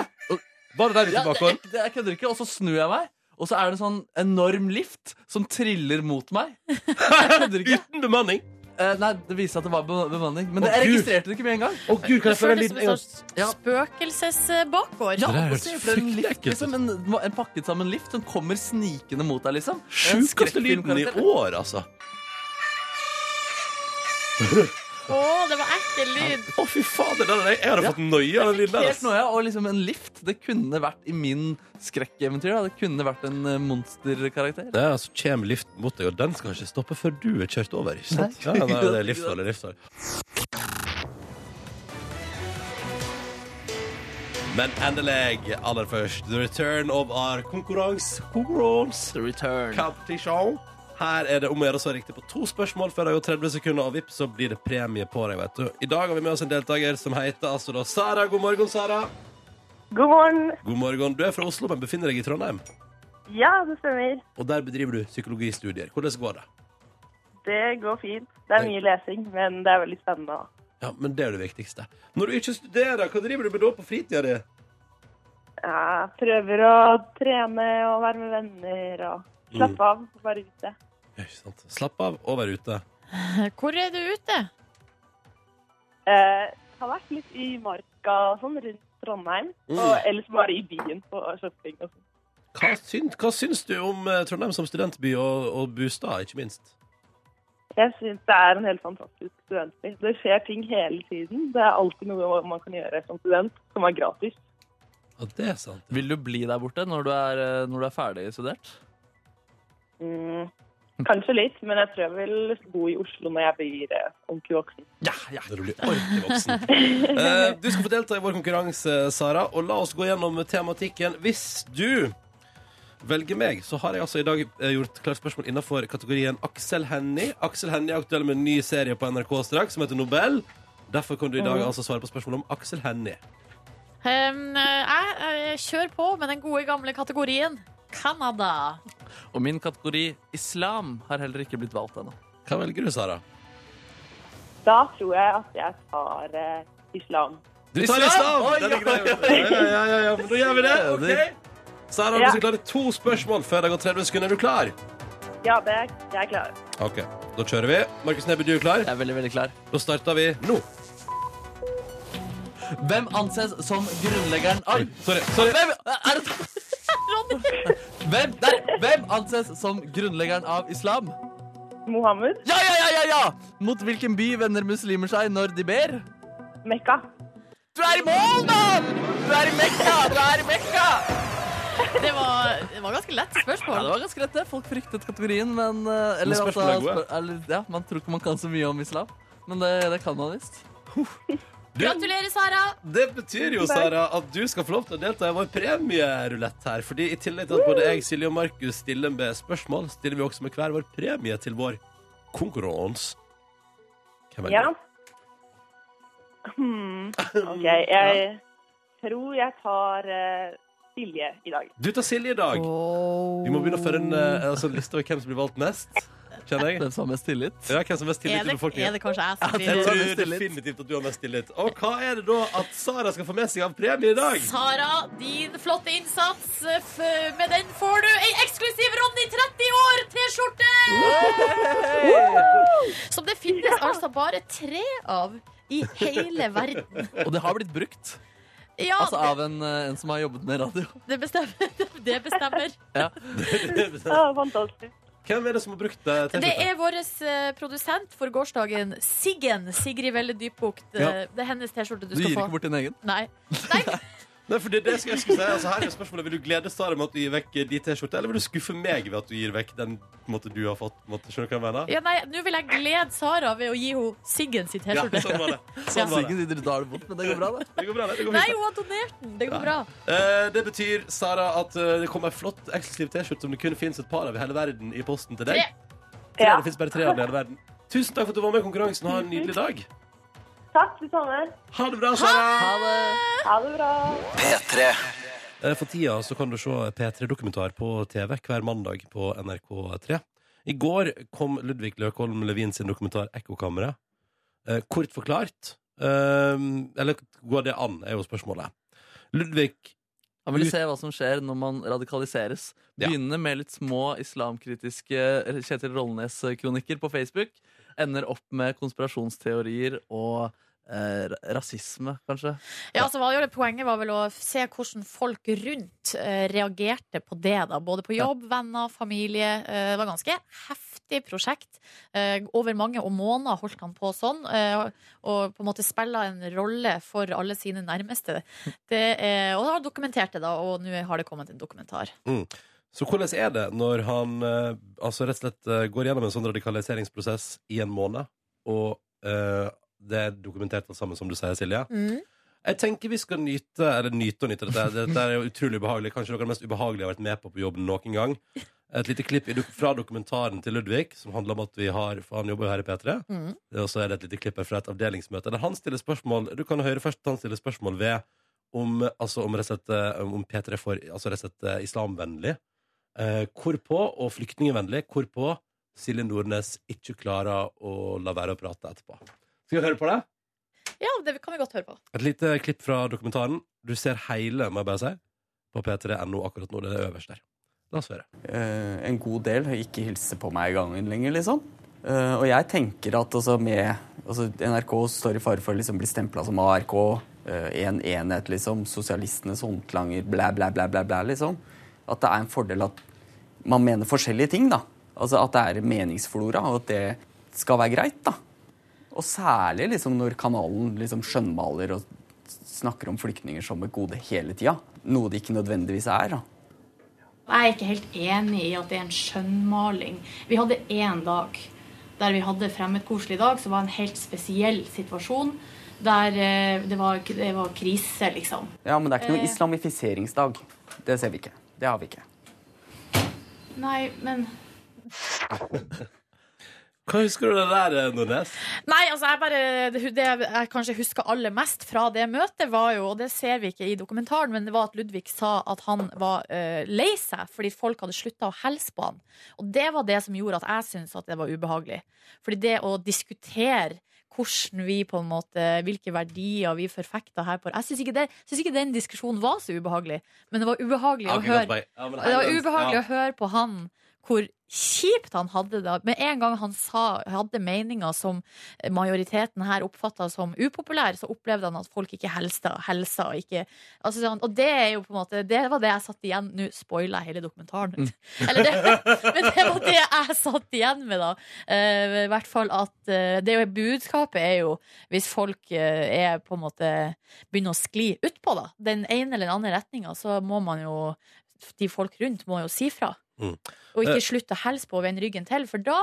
Var det der ute i Ja, det, bakgården? jeg, det, jeg kødder ikke. Og så snur jeg meg, og så er det en sånn enorm lift som triller mot (laughs) meg. Jeg kødder ikke. Uten bemanning! Eh, nei, det viser seg at det var be- bemanning. Men Å, det, Gud. jeg registrerte det ikke med en gang. Å gud, kan jeg få en det liten som en en gang? Ja. sånn spøkelsesbakgård. Det Ja, der og hørtes så er det en fryktelig lift, ekkelt liksom, en, en pakket sammen lift som kommer snikende mot deg, liksom. En Sjukeste lyden i skrekkfilmkarakter. år, altså. Å, det var ekkel lyd. Å, fy fader. den er- Jeg hadde Ja. fått noia av den lyden der. Helt altså. noe, ja. Og liksom en lift. Det kunne vært i min skrekkeventyr. da. Det kunne vært en eh, monsterkarakter. Ja, altså, så kommer liften mot deg, og den skal ikke stoppe før du er kjørt over. Ikke sant? Ja, Nei. nei, det er livsfarlig, livsfarlig. Men endelig, aller først, the return of our konkurranse. Konkurranse. The return. Competition. Her er det om å gjøre å svare riktig på to spørsmål før det har gått 30 sekunder, og vipp, så blir det premie på deg, vet du. I dag har vi med oss en deltaker som heter altså da Sara. God morgen, Sara. God morgen. God morgen. Du er fra Oslo, men befinner deg i Trondheim. Ja, det stemmer. Og der bedriver du psykologistudier. Hvordan går det? Det går fint. Det er mye lesing, men det er veldig spennende. også. Ja, men det er jo det viktigste. Når du ikke studerer, hva driver du med da på fritida di? Jeg prøver å trene og være med venner og slappe av. Bare ute. Ja, ikke sant. Slapp av og vær ute. Hvor er du ute? Eh, har vært litt i marka og sånn rundt Trondheim, og ellers bare i byen på shopping og sånn. Hva syns, hva syns du om eh, Trondheim som studentby og, og Bustad, ikke minst? Jeg syns det er en helt fantastisk studentby. Det skjer ting hele tiden. Det er alltid noe man kan gjøre som student som er gratis. Ja, det er sant. Vil du bli der borte når du er, eh, når du er ferdig studert? Mm, kanskje litt, men jeg tror jeg vil bo i Oslo når jeg blir eh, ordentlig voksen. Ja, ja. Når du blir ordentlig (laughs) voksen. Eh, du skal få delta i vår konkurranse, Sara, og la oss gå gjennom tematikken. Hvis du velger meg, så har jeg altså i dag eh, gjort klart spørsmål innenfor kategorien Aksel Hennie. Aksel Hennie er aktuell med en ny serie på NRK straks som heter Nobel. Derfor kan du i dag altså svare på spørsmål om Aksel Hennie. Um, jeg, jeg kjører på med den gode gamle kategorien Canada. Og min kategori islam har heller ikke blitt valgt ennå. Hva velger du, Sara? Da tror jeg at jeg tar eh, islam. Du tar islam! Den er grei, vet Ja, ja, ja, ja, ja, men da gjør vi det. ok? Sara, du Ja. skal klare to spørsmål før det går 30 sekunder. Er du klar? Ja, det er jeg er klar. OK, da kjører vi. Markus Neby, du er klar? Jeg er veldig, veldig klar. Da starter vi nå. Hvem anses som grunnleggeren av Sorry. sorry. Hvem (laughs) er det sånn? Hvem, der, hvem anses som grunnleggeren av islam? Mohammed, Ja, ja, ja, ja, ja! Mot hvilken by vender muslimer seg når de ber? Mekka. Du er i mål, mann! Du er i Mekka! Du er i Mekka! Det var, det var ganske lett Ja, det spørsmål. var ganske rett, det. Folk fryktet kategorien, men eh, eller, Men spørsmålet er altså, gode. spør- eller, ja, Man tror ikke man kan så mye om islam, men det, det kan man visst. Du, Gratulerer, Sara. det betyr jo, Sara, at du skal få lov til å delta i vår premierulett her. Fordi i tillegg til at både jeg, Silje og Markus stiller med spørsmål, stiller vi også med hver vår premie til vår konkurranse. Hvem er Ja. det? Hmm. (laughs) OK, jeg tror jeg tar eh, Silje i dag. Du tar Silje i dag. Vi må begynne å føre en eh, altså, en liste over hvem som blir valgt mest. Kjenner jeg. Den som har mest tillit. Ja, hvem som har mest tillit Er det, til befolkningen. er det kanskje jeg som Jeg det- blir tror Du har mest tillit. definitivt at du har mest tillit. Og hva er det da at Sara skal få med seg av premie i dag? Sara, din flotte innsats. eh, F med den får du ei eksklusiv Ronny 30 år-T-skjorte! Som det finnes altså bare tre av i hele verden. Og det har blitt brukt. Ja, Altså av en, eh, en som har jobbet med radio. det bestemmer. (laughs) Det bestemmer. Ah, fantastisk. Hvem er det som har brukt eh, det? Det er vår eh, produsent for gårsdagen, Siggen. Sigrid Velle Dybbukt. Eh, Ja. Det er hennes T-skjorte du Du skal gir få. ikke bort din egen. Nei. Nei. Nei, for det, det skal jeg skulle si. Altså, her er spørsmålet Vil du glede Sara med at du gir vekk eh, de T-skjortene, eller vil du skuffe meg ved at du gir vekk den på en måte, du har fått? på en Måte, skjønner du hva jeg mener? Ja, nei, nå vil jeg glede Sara ved å gi henne Siggen sitt Ja, T-skjorte. sånn var det. Sånn var det. Siggen sier da er det vondt, men det går bra, det. Det går bra, det. det går Nei, fint. hun har donert den. Det går bra. Eh, det betyr Sara, at eh, det kommer ei flott eksklusiv T-skjorte som det kun fins et par av i hele verden, i posten til deg. Tre. Tre, Ja. Det finnes bare tre av i hele verden. Tusen takk for at du var med i konkurransen. Ha en nydelig dag. Takk, det samme. Ha det bra, Sara. Ha det bra. Eh, For tida så kan du se P3-dokumentar på TV hver mandag på NRK3. I går kom Ludvig Løkholm Levin sin dokumentar 'Ekkokammeret'. Eh, Kort forklart eh, Eller går det an, er jo spørsmålet. Ludvig Han vil se hva som skjer når man radikaliseres. Ja. Begynner med litt små islamkritiske eh, Kjetil Rollnes-kronikker på Facebook. Ender opp med konspirasjonsteorier og eh, ra- rasisme, kanskje. Ja, altså, hva gjør det Poenget var vel å se hvordan folk rundt eh, reagerte på det. da Både på jobb, venner, familie. Eh, det var ganske heftig prosjekt. Eh, over mange og måneder holdt han på sånn, eh, og på en måte spilla en rolle for alle sine nærmeste. Det, eh, og han dokumenterte det, da, og nå har det kommet en dokumentar. Så hvordan er det når han eh, altså rett og slett eh, går gjennom en sånn radikaliseringsprosess i en måned, og eh, det er dokumentert alt sammen, som du sier, Silje? Jeg tenker vi skal nyte Eller nyte og nyte dette. Dette er jo utrolig ubehagelig. Kanskje noe av det mest ubehagelige jeg har vært med på på jobben noen gang. Et lite klipp i dok- fra dokumentaren til Ludvig, som handler om at vi har For han jobber jo her i P3. Mhm. Og så er det et lite klipp her fra et avdelingsmøte der han stiller spørsmål Du kan høre først at han stiller spørsmål ved om, altså, om, rett og slett, eh, om P3 for altså, rett og slett eh, islamvennlig. Eh, hvorpå, og flyktningvennlig, hvorpå Silje Nordnes ikke klarer å la være å prate etterpå. Skal vi høre på det? Ja, det kan vi godt høre på. Et lite klipp fra dokumentaren. Du ser hele, må jeg bare si, på p3.no akkurat nå. Det er øverst der. La oss høre. Eh, en god del ikke hilser på meg i gangen lenger, liksom. Eh, og jeg tenker at altså med altså NRK står i fare for å liksom bli stempla som ARK, eh, en enhet, liksom, sosialistenes håndlanger, blæ, blæ, blæ, blæ, blæ, liksom. At det er en fordel at man mener forskjellige ting, da. Altså at det er meningsflora, og at det skal være greit, da. Og særlig liksom når kanalen liksom skjønnmaler og snakker om flyktninger som et gode hele tida. Noe de ikke nødvendigvis er, da. Jeg er ikke helt enig i at det er en skjønnmaling. Vi hadde én dag der vi hadde fremmedkoselig dag, som var en helt spesiell situasjon. Der eh, det var, det var krise, liksom. Ja, men det er ikke noe Eh. islamifiseringsdag. Det ser vi ikke. Det har vi ikke. Nei, men Hva husker du det der, eh, Nordnes? Nei, altså jeg bare, det, det jeg kanskje husker aller mest fra det møtet, var jo, og det ser vi ikke i dokumentaren, men det var at Ludvig sa at han var eh, lei seg fordi folk hadde slutta å hilse på han. Og det var det som gjorde at jeg syntes at det var ubehagelig. Fordi det å diskutere hvordan vi på en måte, Hvilke verdier vi forfekta her på Jeg syns ikke, det- synes ikke den diskusjonen var så ubehagelig, men det var ubehagelig å høre det var ubehagelig å høre på han hvor kjipt han hadde det. Med en gang han sa, hadde meninger som majoriteten her oppfatta som upopulære, så opplevde han at folk ikke helsta. helsa og ikke, altså, sånn, og det er jo på en måte Det var det jeg satt igjen Nå spoiler jeg hele dokumentaren. (laughs) Eller det, men det var det jeg satt igjen med, da. Eh, I hvert fall at eh, det er jo- Budskapet er jo hvis folk eh, er på en måte begynner å skli utpå, da, den ene eller den andre retninga, så må man jo de folk rundt må jo si fra. Mm. Og Eh. ikke slutte å hilse på og vende ryggen til, for da,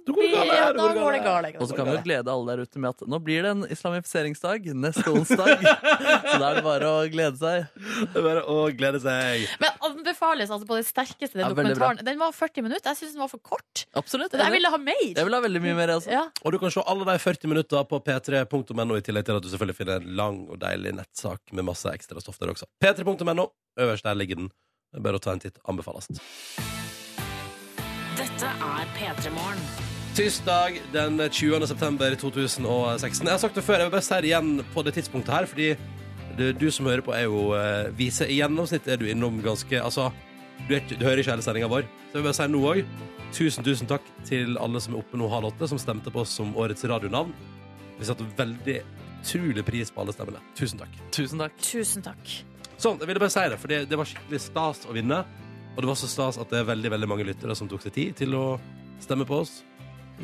Da går det blir- gale, ja, da da går det går det gale. gale. Og så kan vi jo glede alle der ute med at nå blir det en islamifiseringsdag neste onsdag. (laughs) Så da er det bare å glede seg. Det er bare å glede seg. Men anbefales altså på det sterkeste, den Ja, veldig bra. dokumentaren. Den var 40 minutter. Jeg syns den var for kort. Absolutt. Jeg ville ha Jeg mer. vil ha veldig mye mer. Altså. Ja. Og du kan se alle de 40 minutter på p3.no, i tillegg til at du selvfølgelig finner en lang og deilig nettsak med masse ekstra stoff der også. p3.no. Øverst der ligger den. Det er Bare å ta en titt. Anbefales. Dette er P3 Morgen. Tirsdag den 20. september 2016. Jeg har sagt det før, jeg vil bare si det igjen på det tidspunktet her, fordi du, du som hører på, er jo eh, vise. I gjennomsnitt er du innom ganske Altså, du, er, ikke- du hører ikke hele sendinga vår. Så jeg vil bare si nå òg tusen, tusen takk til alle som er oppe nå halv åtte, som stemte på oss som årets radionavn. Vi satte veldig utrolig pris på alle stemmene. Tusen takk. Tusen takk. Tusen takk. Sånn, jeg ville bare si det, for det, det var skikkelig stas å vinne. Og det var så stas at det er veldig veldig mange lyttere som tok seg tid til å stemme på oss.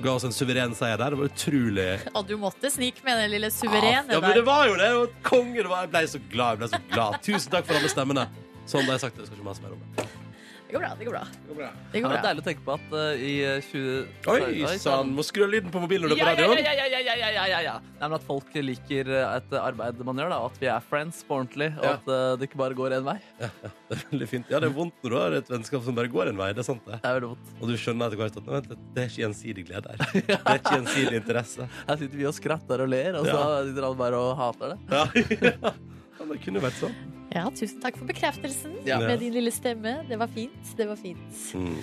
Ga oss en suveren seier der. Det var utrolig Ja, du måtte snike med den lille Ah, suverene Ja, men det der. var jo det! det var konge, det var. Jeg ble så glad. jeg ble så glad Tusen takk for alle stemmene. Sånn ble jeg sagt. Jeg skal ikke mase mer om det. Det går bra. Det går bra. Det Ja, går det er bra. deilig å tenke på at eh, i eh, 20... Oi sann! Må skru av lyden på mobilen når du er Ja, på ja, radioen. ja, ja, ja, ja, ja, ja, ja, ja. Nei, men At folk liker eh, et arbeid man gjør, da, og at vi er friends på ordentlig. Og Ja. at eh, det ikke bare går én vei. Det er (laughs) veldig fint. Ja, det er vondt når du har et vennskap som bare går en vei. Det er sant, det. Det er veldig vondt. Og du skjønner etter hvert at "Nei, vent litt, det er ikke gjensidig glede her. Det er ikke gjensidig interesse. Her sitter vi og skratter og ler, og så Ja. sitter alle bare og hater det. Ja, ja. Det kunne vært sånn. Ja, tusen takk for bekreftelsen Ja. med din lille stemme. Det var fint. Det var fint. Mm.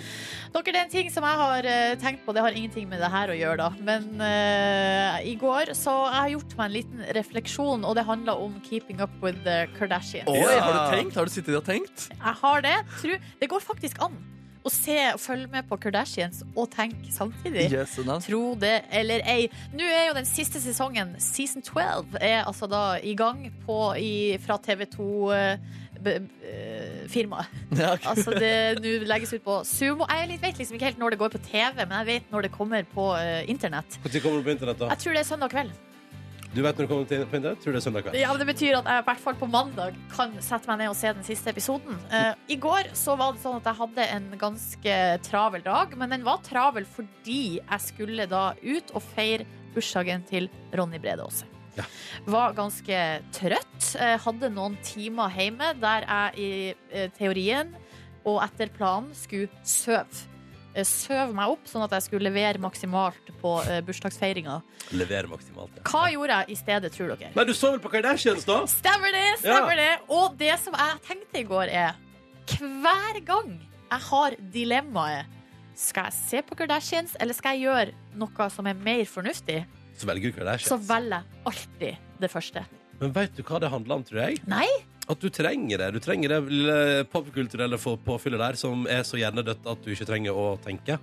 Dere, det er en ting som jeg har eh, tenkt på, det har ingenting med det her å gjøre, da. Men eh, i går så jeg har gjort meg en liten refleksjon, og det handler om keeping up with the Kardashians. Oi, Ja. Har du tenkt? Har du sittet og tenkt? Jeg har det. Tru, det går faktisk an å se og følge med på Kardashians og tenke samtidig. Yes, no. Tro det eller ei. Nå er jo den siste sesongen, season 12, er altså da i gang på, i, fra eh, TV2-firmaet. ja, ok. eh, Altså det nå legges ut på Sumo. Jeg litt- vet liksom ikke helt når det går på TV, men jeg vet når det kommer på eh, internett. Når kommer du på internett, da? Jeg tror det er søndag kveld. Du vet når du kommer til- på internett? Tror du det er søndag kveld? Ja, men Det betyr at jeg i hvert fall på mandag kan sette meg ned og se den siste episoden. Eh, I går så var det sånn at jeg hadde en ganske travel dag, men den var travel fordi jeg skulle da ut og feire bursdagen til Ronny Brede Aase. Ja. Var ganske trøtt. eh, Hadde noen timer hjemme der jeg i eh, teorien og etter planen skulle sove. Eh, Søv meg opp, sånn at jeg skulle levere maksimalt på eh, bursdagsfeiringa. Leverer maksimalt. Ja. Hva gjorde jeg i stedet, tror dere? Nei, du så vel på Kardashians, da? Stemmer det, stemmer det. Og det som jeg tenkte i går er Hver gang jeg har dilemmaet Skal jeg se på Kardashians Eller skal jeg gjøre noe som er mer fornuftig Så velger du Kardashians. Så velger jeg alltid det første Men veit du hva det handler om, tror jeg? Nei. At du trenger det. Du trenger det lille popkulturelle få- påfyllet der som er så hjernedødt at du ikke trenger å tenke.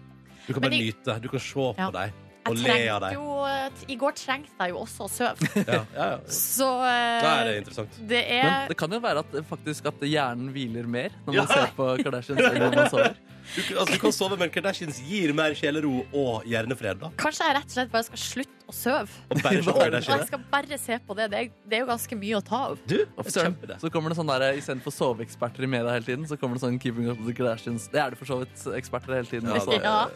Du kan bare Men jeg- nyte. Du kan se på Ja. dem og Jeg le av trengte dem. jo eh, I går trengte jeg jo også å (laughs) søve Ja, ja, ja. Så Da er eh, det interessant. det Men er det kan jo være at, eh, faktisk, at hjernen hviler mer når man Ja. ser på (laughs) Kardashians. enn når man sover. Du, kan- altså, du kan sove, men Kardashians gir mer sjelero og hjernefred, da. Kanskje jeg rett og slett bare skal slutte å søve Og bare se på Jeg Kardashians. skal bare se på det Det er, det er jo ganske mye å ta av Du, Og Søren, kjempe det. Så kommer det sånn der, Istedenfor soveeksperter i media hele tiden, så kommer det sånn Keeping Up With The Kardashians. Det er det for så vidt eh, eksperter hele tiden. Ja, også. det- Ja,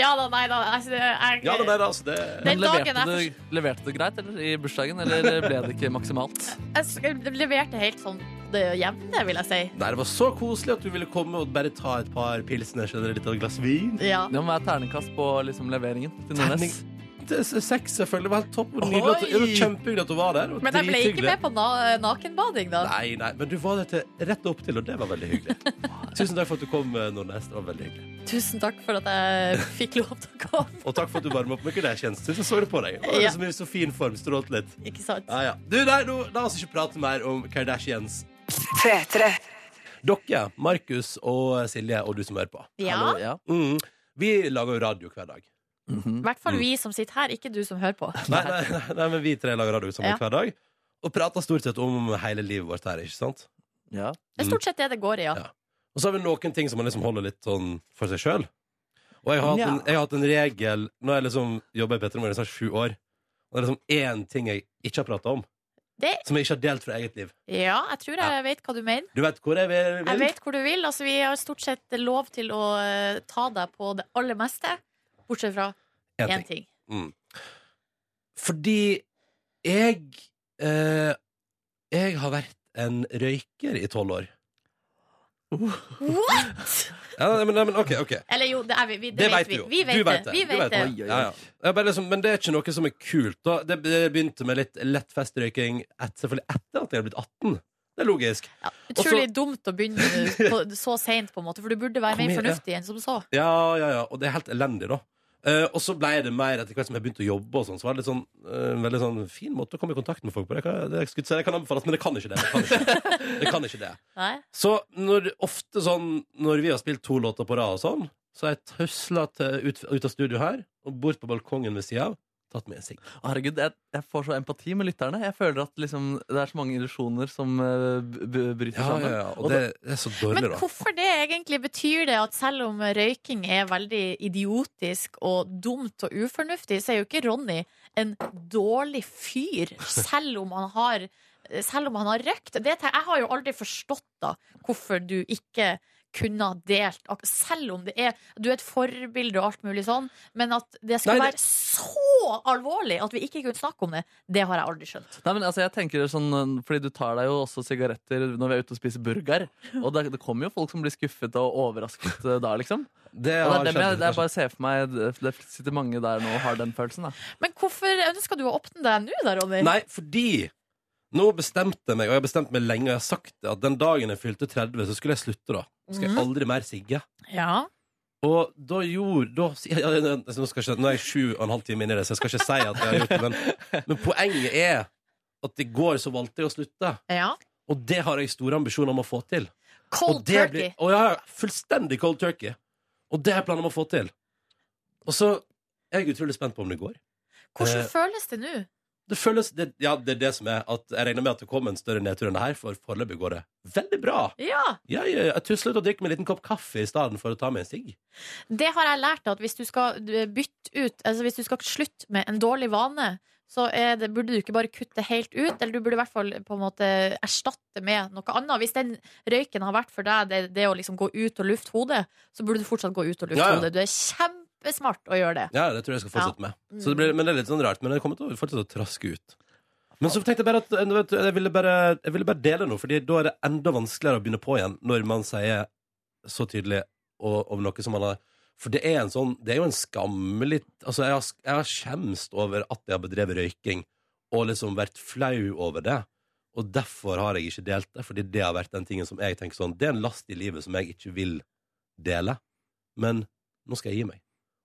ja da, nei da altså, jeg, Ja, det er altså det. Den Men dagen leverte jeg du, leverte du greit eller, i bursdagen, eller ble det ikke maksimalt? Jeg sk- leverte helt sånn det jevne, vil jeg si. Nei, det var så koselig at du ville komme og bare ta et par pilsners eller et lite glass vin. Ja. Det må være terningkast på liksom, leveringen til Nordnes. Det er Seks, selvfølgelig. Det var helt topp. Det var Nydelig. at- Oi! Det var Kjempehyggelig at du var der. Det var Men jeg ble ikke drithyggelig. med på na nakenbading, da. Nei, nei, men du var der til, rett opp til, og det var veldig hyggelig. (laughs) Tusen takk for at du kom, eh, Nordnes. Det var veldig hyggelig. Tusen takk for at jeg fikk lov til å komme. Og takk for at du varma opp med Kardashians-tips. Jeg så det på deg. Og Ja. liksom i så fin form. Strålt litt. Ikke sant? Ja, ja. Du, nei, nå, la oss ikke prate mer om Kardashians. Dere, Markus og Silje, og du som hører på. Ja, Hallo, ja. Mm. Vi lager jo radio hver dag. I hvert fall vi som sitter her, ikke du som hører på. Nei, nei, nei, nei men vi tre lager radio sammen Ja. hver dag. Og prater stort sett om hele livet vårt her, ikke sant? Ja. Det er stort sett det det går i, ja. Ja. Og så har vi noen ting som man liksom holder litt sånn for seg sjøl. Og jeg har, hatt en, jeg har hatt en regel Nå har jeg liksom jobba i Petter Morgen i snart sju år. Og det er liksom én ting jeg ikke har prata om, Det, som jeg ikke har delt fra eget liv. ja, jeg tror jeg vet hva du mener. Du vet hvor jeg vil? Jeg vet hvor du vil. Altså, vi har stort sett lov til å eh, ta deg på det aller meste, bortsett fra En én ting. Fordi jeg eh, Jeg har vært en røyker i tolv år. What?! Ja, nei, men, nei, men OK. ok Eller jo, det, er vi, vi, det, Det vet vet vi. du jo. Vi vet Du vet det. det. Vi Du vet vet det. Oi, oi, Ja, ja. oi. Jeg bare liksom, men det er ikke noe som er kult. Da. Det det begynte med litt lett festrøyking et, selvfølgelig etter at jeg har blitt 18. Det er logisk. Utrolig dumt å begynne eh, på, så seint, på en måte, for du burde være Kom mer igjen, ja. fornuftig enn som så. Ja, ja, ja, Og det er helt elendig, da. Eh, og så ble det mer etter hvert som jeg begynte å jobbe. og sånn, så var det litt sånn, eh, en veldig sånn fin måte å komme i kontakt med folk på. Det kan, det, jeg skulle si, det kan anbefales, men det kan ikke det. Det kan ikke det. kan ikke det. Nei? Så når, ofte sånn, når vi har spilt to låter på rad og sånn, så har jeg tøsla til- ut, ut av studio her og bort på balkongen ved sida av tatt med en sigg. Herregud, jeg, jeg får så empati med lytterne. Jeg føler at liksom, det er så mange illusjoner som eh, b- b- bryter Ja, sammen. ja, ja. Og det er så dårlig, Men da. hvorfor det egentlig? Betyr det at selv om røyking er veldig idiotisk og dumt og ufornuftig, så er jo ikke Ronny en dårlig fyr, selv om han har selv om han har røykt. Det, tenk- jeg har jo aldri forstått da hvorfor du ikke kunne ha delt ak- Selv om det er Du er et forbilde og alt mulig sånn, men at det skulle Nei, det- være så alvorlig at vi ikke kunne snakke om det, det har jeg aldri skjønt. Nei, men altså, jeg tenker sånn, eh, fordi Du tar deg jo også sigaretter når vi er ute og spiser burger. Og det, det kommer jo folk som blir skuffet og overrasket eh, da, liksom. Det Og det, har er dem jeg, skjedd. jeg bare ser for meg Det det sitter mange der nå og har den følelsen. da Men hvorfor ønsker du å åpne deg nå da, Ronny? Nei, fordi nå bestemte jeg meg, og jeg har bestemt meg lenge, og jeg har sagt det, at den dagen jeg fylte 30, så skulle jeg slutte, da. Skal jeg aldri mer sigge. Ja. Og da gjorde da, ja, ja, ja, altså, nå, skal jeg ikke, nå er jeg sju og en halv time inn i det, så jeg skal ikke si at jeg har gjort det, men, men poenget er at i går så valgte jeg å slutte. ja. Og det har jeg store ambisjoner om å få til. Cold og det turkey. blir- og jeg har fullstendig cold turkey. Og det har jeg planer om å få til. Og så er jeg utrolig spent på om det går. Hvordan Eh, føles det nå? Det føles, det, ja, det er det som er at Jeg regner med at det kommer en større nedtur enn det her, for foreløpig går det veldig bra. Ja, Ja, ja, ja. Jeg tuslet og drikker meg en liten kopp kaffe i stedet for å ta med en sigg. det har jeg lært at hvis du skal eh, bytte ut Altså hvis du skal slutte med en dårlig vane så er det, burde du ikke bare kutte helt ut, eller du burde i hvert fall på en måte erstatte med noe annet. Hvis den røyken har vært for deg det, det å liksom gå ut og lufte hodet, så burde du fortsatt gå ut og lufte Ja, ja. hodet. Du er kjempesmart å gjøre det. Ja, det tror jeg jeg skal fortsette med. Så det blir, men det er litt sånn rart, men jeg kommer til å fortsette å traske ut. Men så tenkte jeg bare at eh, vet du, jeg ville bare, jeg ville bare dele noe, Fordi da er det enda vanskeligere å begynne på igjen når man sier så tydelig og, om noe som man har For det er en sånn Det er jo en skammelig Altså, jeg har, jeg har skjemst over at jeg har bedrevet røyking, og liksom vært flau over det. Og derfor har jeg ikke delt det, fordi det har vært den tingen som jeg tenker sånn Det er en last i livet som jeg ikke vil dele. Men nå skal jeg gi meg.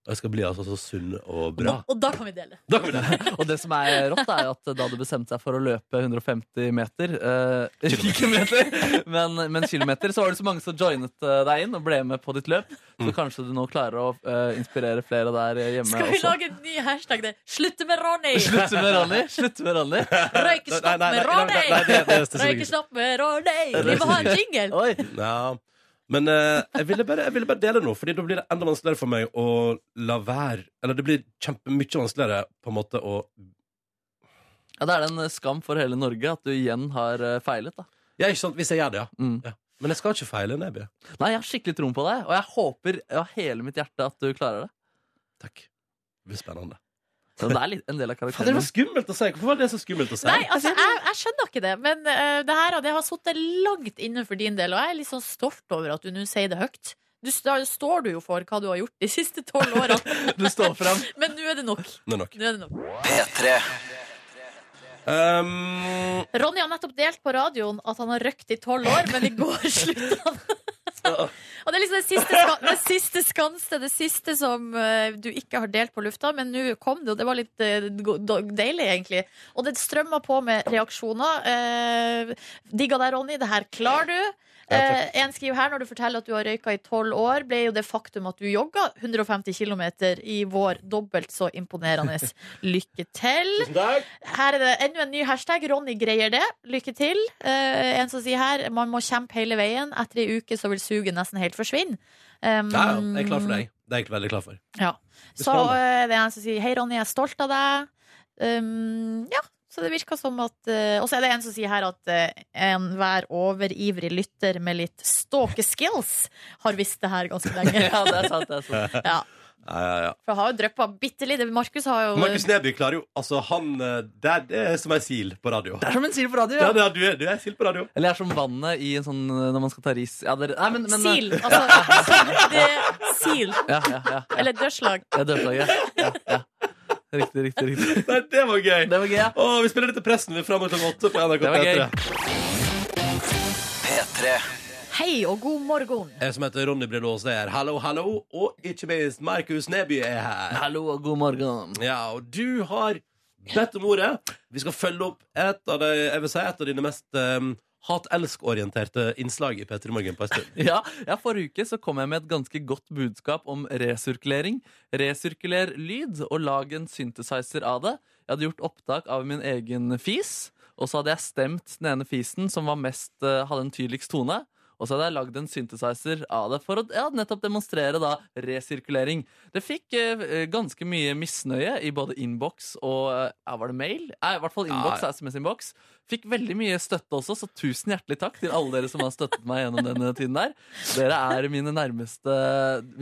Og jeg skal bli altså så sunn og bra. Og da kan vi dele. Da kan vi det. (laughs) Og det som er rått, er jo at da du bestemte deg for å løpe 150 meter eh, (laughs) Ikke meter, men, men kilometer, så var det så mange som joinet eh, deg inn og ble med på ditt løp. Så kanskje du nå klarer å eh, inspirere flere der hjemme Skal vi også. lage en ny hashtag? Det? Slutte med Ronny! (laughs) Slutt med Ronny! Slutt med Ronny. Røykestopp Nei, nei, med nei, nei, Ronny! nei, nei, det- det- det- Røykestopp med Ronny! Vi må ha en jingle! Oi, Ja. Men eh, jeg, ville bare, jeg ville bare dele noe, Fordi da blir det enda vanskeligere for meg å la være Eller det blir kjempemye vanskeligere på en måte å ja, Da er det en eh, skam for hele Norge at du igjen har eh, feilet. da Ja, ikke sant? Hvis jeg gjør det, ja. Mm. ja. Men jeg skal ikke feile, Neby. Nei, Jeg har skikkelig troen på deg, og jeg håper av hele mitt hjerte at du klarer det. Takk. Det blir spennende. Så det er litt, en del av Faen, det karakteren. var skummelt å si! Hvorfor var det så skummelt å si? Nei, altså, jeg, jeg skjønner ikke det, men eh, det her det har sittet langt innenfor din del, og jeg er litt sånn stolt over at du nå sier det høyt. Du, st- da står du jo for hva du har gjort de siste tolv åra, Du står fram. men nå er det nok. Nå nok. Nå er det nok. Um, (laughs) Ronny har nettopp delt på radioen at han har røkt i tolv år, men i går slutta han. Og det er liksom det siste, ska, det siste skanse, det siste som eh, du ikke har delt på lufta, men nå kom det, og det var litt eh, go- do- deilig, egentlig. Og det strømma på med reaksjoner. Eh, digga deg, Ronny, det her klarer du. Eh, en skriver her, når du forteller at du har røyka i tolv år, ble jo det faktum at du jogga 150 km i vår dobbelt så imponerende. Lykke til. Her er det enda en ny hashtag. Ronny greier det. Lykke til. Eh, en som sier her man må kjempe hele veien. Etter ei uke så vil suget nesten helt forsvinne. Um, ja, ja, jeg er klar for deg. Det er jeg egentlig veldig klar for. Så eh, det er en som sier hei, Ronny, jeg er stolt av deg. Um, ja, så det virker som at eh, Og så er det en som sier her at eh, enhver overivrig lytter med litt stalkeskills har visst det her ganske (laughs) lenge. Ja, det er sant. det er sant ja, Ja, ja, ja. for jeg har jo dryppa bitte litt. Markus har jo eh, Markus Neby klarer jo Altså, han eh, Det er, det er som ei sil på radio. Det er som en sier på radio. Ja, det er, du er, du er ei sil på radio. Eller det er som vannet i en sånn når man skal ta ris. (laughs) Ja, det er, nei, men, men, Sil. Altså, (laughs) det, sil. Ja, ja, ja, ja. Eller dørslag. Ja, dørslaget. Ja, ja. Riktig, riktig, riktig. Nei, det var gøy! Det var gøy, ja. Å, vi spiller litt til pressen vi er framme klokka åtte på NRK Det var P3. gøy. Hei og god morgen. Jeg som heter Ronny Brede Aase er hallo, hallo, og ikke minst Markus Neby er her. Hallo og god morgen. Ja, og du har bedt om ordet. Vi skal følge opp et av, de, jeg vil si, et av dine mest um, hat-elsk-orienterte innslag i P3 Morgen på en stund. (laughs) Ja, ja, forrige uke så kom jeg med et ganske godt budskap om resirkulering. Resirkuler lyd, og lag en synthesizer av det. Jeg hadde gjort opptak av min egen fis, og så hadde jeg stemt den ene fisen som var mest, eh, hadde en tydeligst tone. Og så hadde jeg lagd en synthesizer av det for å ja, nettopp demonstrere da resirkulering. Det fikk eh, ganske mye misnøye i både innboks og eh, ja, Var det mail? Nei, i hvert fall innboks. SMS-innboks. Fikk veldig mye støtte også, så tusen hjertelig takk til alle dere som har støttet meg gjennom denne tiden der. Dere er mine nærmeste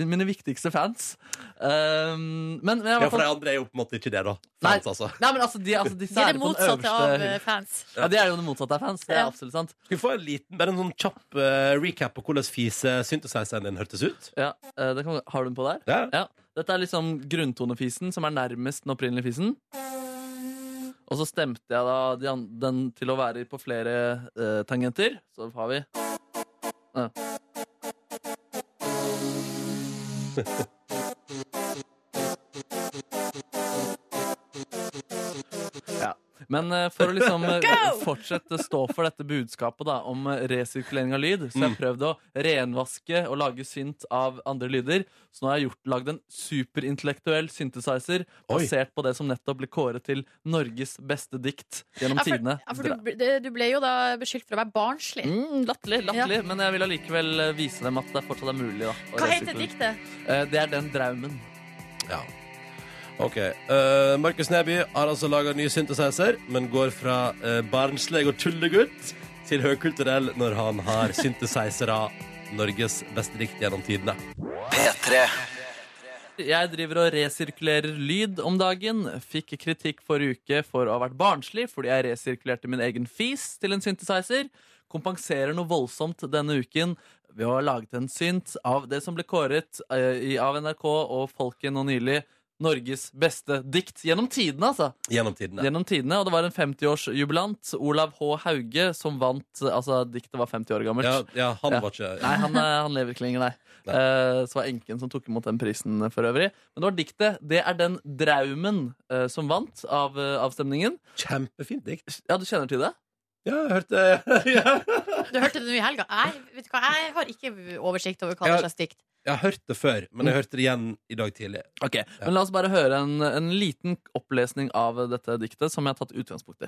Mine viktigste fans. Um, men, men jeg, Ja, for de andre er jo på en måte ikke det, da. Nei. Fans, altså. Nei, men altså, de, altså disse De er det på den motsatte øverste av eh, hyllen. fans. Ja, de er jo det motsatte av fans. Det er Ja. absolutt sant. Skal vi få en liten, bare en sånn kjapp eh, recap på hvordan fise-synthesizeren din hørtes ut? Ja, eh, det kan, har du den på der? Ja. Ja. Dette er liksom grunntonefisen, som er nærmest den opprinnelige fisen. Og så stemte jeg da de an- den til å være på flere eh, tangenter. Så har vi ja. Ja. Men eh, for å liksom eh, fortsette stå for dette budskapet da, om eh, resirkulering av lyd, så har jeg prøvd å renvaske og lage synt av andre lyder. Så nå har jeg gjort, lagd en superintellektuell synthesizer Oi. basert på det som nettopp ble kåret til Norges beste dikt gjennom Ja, for, tidene. ja, for du, det- du ble jo da beskyldt for å være barnslig. Mm, latterlig, latterlig. Ja. Men jeg vil allikevel eh, vise dem at det fortsatt er mulig. Da, å Hva heter resirkulere. diktet? Eh, Det er Den draumen. Ja. Ok. eh, Markus Neby har altså laga ny synthesizer, men går fra uh, barnslig og tullegutt til høykulturell når han har synthesizere Norges beste dikt gjennom tidene. Jeg driver og resirkulerer lyd om dagen. Fikk kritikk forrige uke for å ha vært barnslig fordi jeg resirkulerte min egen fis til en synthesizer. Kompenserer noe voldsomt denne uken ved å ha laget en synt av det som ble kåret eh, i- av NRK og folket nå nylig. Norges beste dikt gjennom tidene, altså. Gjennom tidene. Gjennom tidene, Og det var en 50-årsjubilant. Olav H. Hauge som vant Altså, diktet var 50 år gammelt. Ja, ja, han Ja. var ikke Nei, han, eh, han lever ikke lenger, nei. Nei. Eh, så var enken som tok imot den prisen eh, for øvrig. Men det var diktet 'Det er den draumen' eh, som vant av eh, avstemningen. Kjempefint dikt. Ja, du kjenner til det? Ja, jeg hørte (laughs) ja. Du hørte det nå i helga. Jeg, vet du hva, jeg har ikke oversikt over hva Ja. slags dikt. Jeg har hørt det før, men jeg hørte det igjen i dag tidlig. Ok, Men la oss bare høre en, en liten opplesning av eh, dette diktet, som jeg har tatt utgangspunkt i.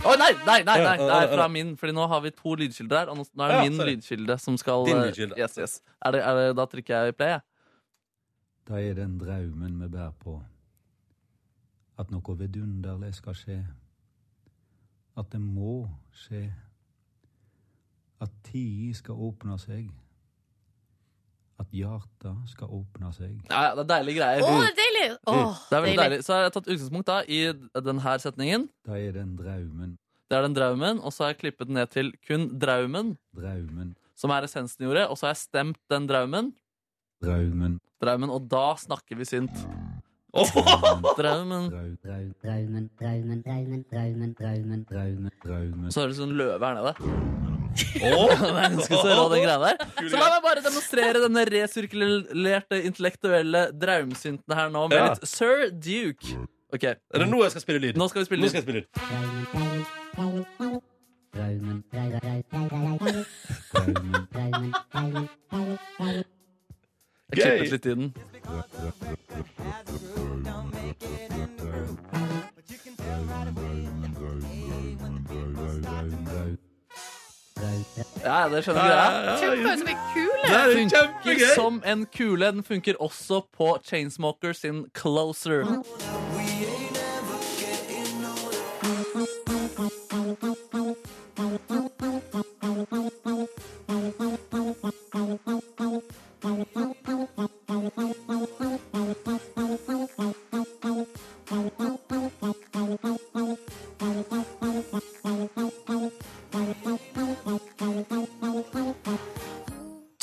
Å nei, nei, nei, nei, det er fra min, Fordi nå har vi to lydkilder her. Og nå- nå er det Ja, min sorry. lydkilde som skal Din eh, lydkilde. Yes, yes. Er det, er det, da trykker jeg play, jeg. Da er den draumen vi bærer på, at noe vidunderlig skal skje, at det må skje, at tida skal åpne seg, at hjarta skal åpne seg. Ja, ja, det er deilige greier. Mm. Å, det er deilig! Åh, det er veldig deilig. Så jeg har tatt utgangspunkt da i denne setningen. Da er den draumen, Det er den draumen, og så har jeg klippet den ned til kun draumen, draumen, som er essensen i ordet, og så har jeg stemt den draumen. draumen, Draumen, og da snakker vi synt. draumen, Draumen. drau- drau- Draumen, draumen, draumen, draumen, draumen. draumen, draumen. Så høres det en løve her nede. (laughs) Det er ganske så rå, den greia der. Så la meg bare demonstrere denne resirkulerte intellektuelle draumsynten her nå med Ja. litt Sir Duke. Ok, Er det nå jeg skal spille lyd? nå skal vi Nå spille skal jeg spille lyd. lyd. Draumen, draumen, draumen. Draumen, draumen, draumen, draumen, draumen, draumen, draumen, draumen. Jeg klippet litt i den. Ja, ja, det skjønner du, ja. Kjempehøy som en kule! Det er jo Funker kjempegøy! som en kule. Den funker også på Chainsmokers sin Closer.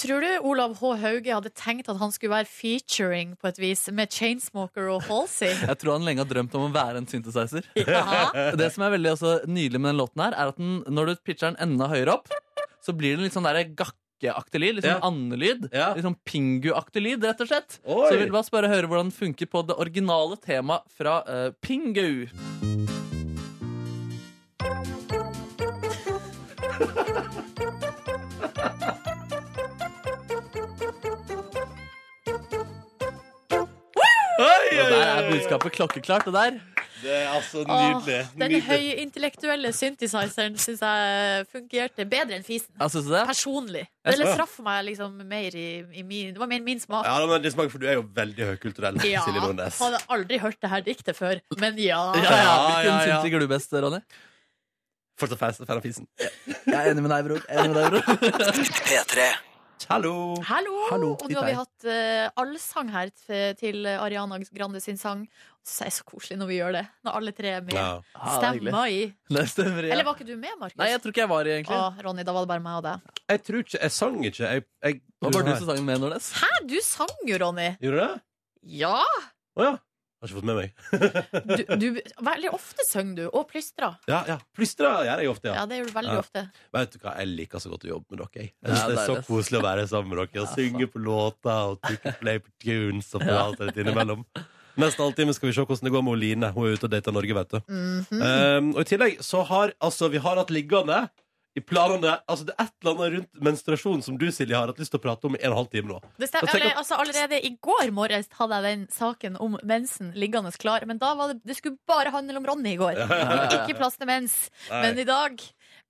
Tror du Olav H. Hauge hadde tenkt at han skulle være featuring på et vis med Chainsmoker og Halsey? Jeg tror han lenge har drømt om å være en synthesizer. Ja. Det som er veldig også nydelig med den låten her, er at den, når du pitcher den enda høyere opp, så blir det en litt sånn der gakkeaktig lyd. Litt sånn Ja. andelyd. Ja. Litt sånn pingu-aktig lyd, rett og slett. Oi. Så jeg vil bare spørre høre hvordan den funker på det originale temaet fra eh, pingu. Og der er budskapet klokkeklart. Det der. Det er altså Åh, nydelig. den nydelig. høyintellektuelle synthesizeren syns jeg fungerte bedre enn fisen. Ja, synes du det? Personlig. Jeg Eller synes- traff meg liksom mer i, i min Det var mer min smak. Ja, men det smaker, for du er jo veldig høykulturell, Ja, Silje Nordnes. hadde aldri hørt det her diktet før, men ja. Ja, ja, Ja, Hvilken ja, ja. syns digger du best, Ronny? Fortsatt fan- fan av fisen. Jeg er enig med deg, bror. Jeg er Enig med deg, bror. P3. Hallo! Hallo! Hallo, og til nå har vi deg. hatt eh, allsang her t- til Ariana Grande sin sang. Så er det så koselig når vi gjør det, når alle tre er med. Ja. (laughs) Ja, det er hyggelig. Stemmer i. Det stemmer, ja. Eller var ikke du med, Markus? Nei, jeg tror ikke jeg var i, egentlig. Å, Ronny, da var det bare meg og deg. Jeg tror ikke Jeg sang ikke. Jeg, jeg, Hva var du som sang med, Nordnes? Hæ, du sang jo, Ronny! Gjorde du det? Ja! Å ja. Har ikke fått med meg. Du, du, veldig ofte synger du, og plystrer. Ja, ja. Plystra gjør jeg ofte, ja. Ja, det gjør du veldig Ja. ofte. Vet du hva, jeg liker så godt å jobbe med dere. Jeg Ja, synes Det er så deilig. koselig å være sammen med dere og synge på låter og trykke play på tunes og prate litt innimellom. Neste halvtime skal vi se hvordan det går med Oline. Hun er ute og dater Norge, vet du. Mhm. um, og i tillegg så har altså, vi har hatt liggende i planene Altså, det er et eller annet rundt menstruasjon som du, Silje, har hatt lyst til å prate om i en og en halv time nå. Det stemmer, Og tenk eller, altså, allerede i går morges hadde jeg den saken om mensen liggende klar. Men da var det, det skulle bare handle om Ronny i går. ja, ja. Ikke plass til mens. Men i dag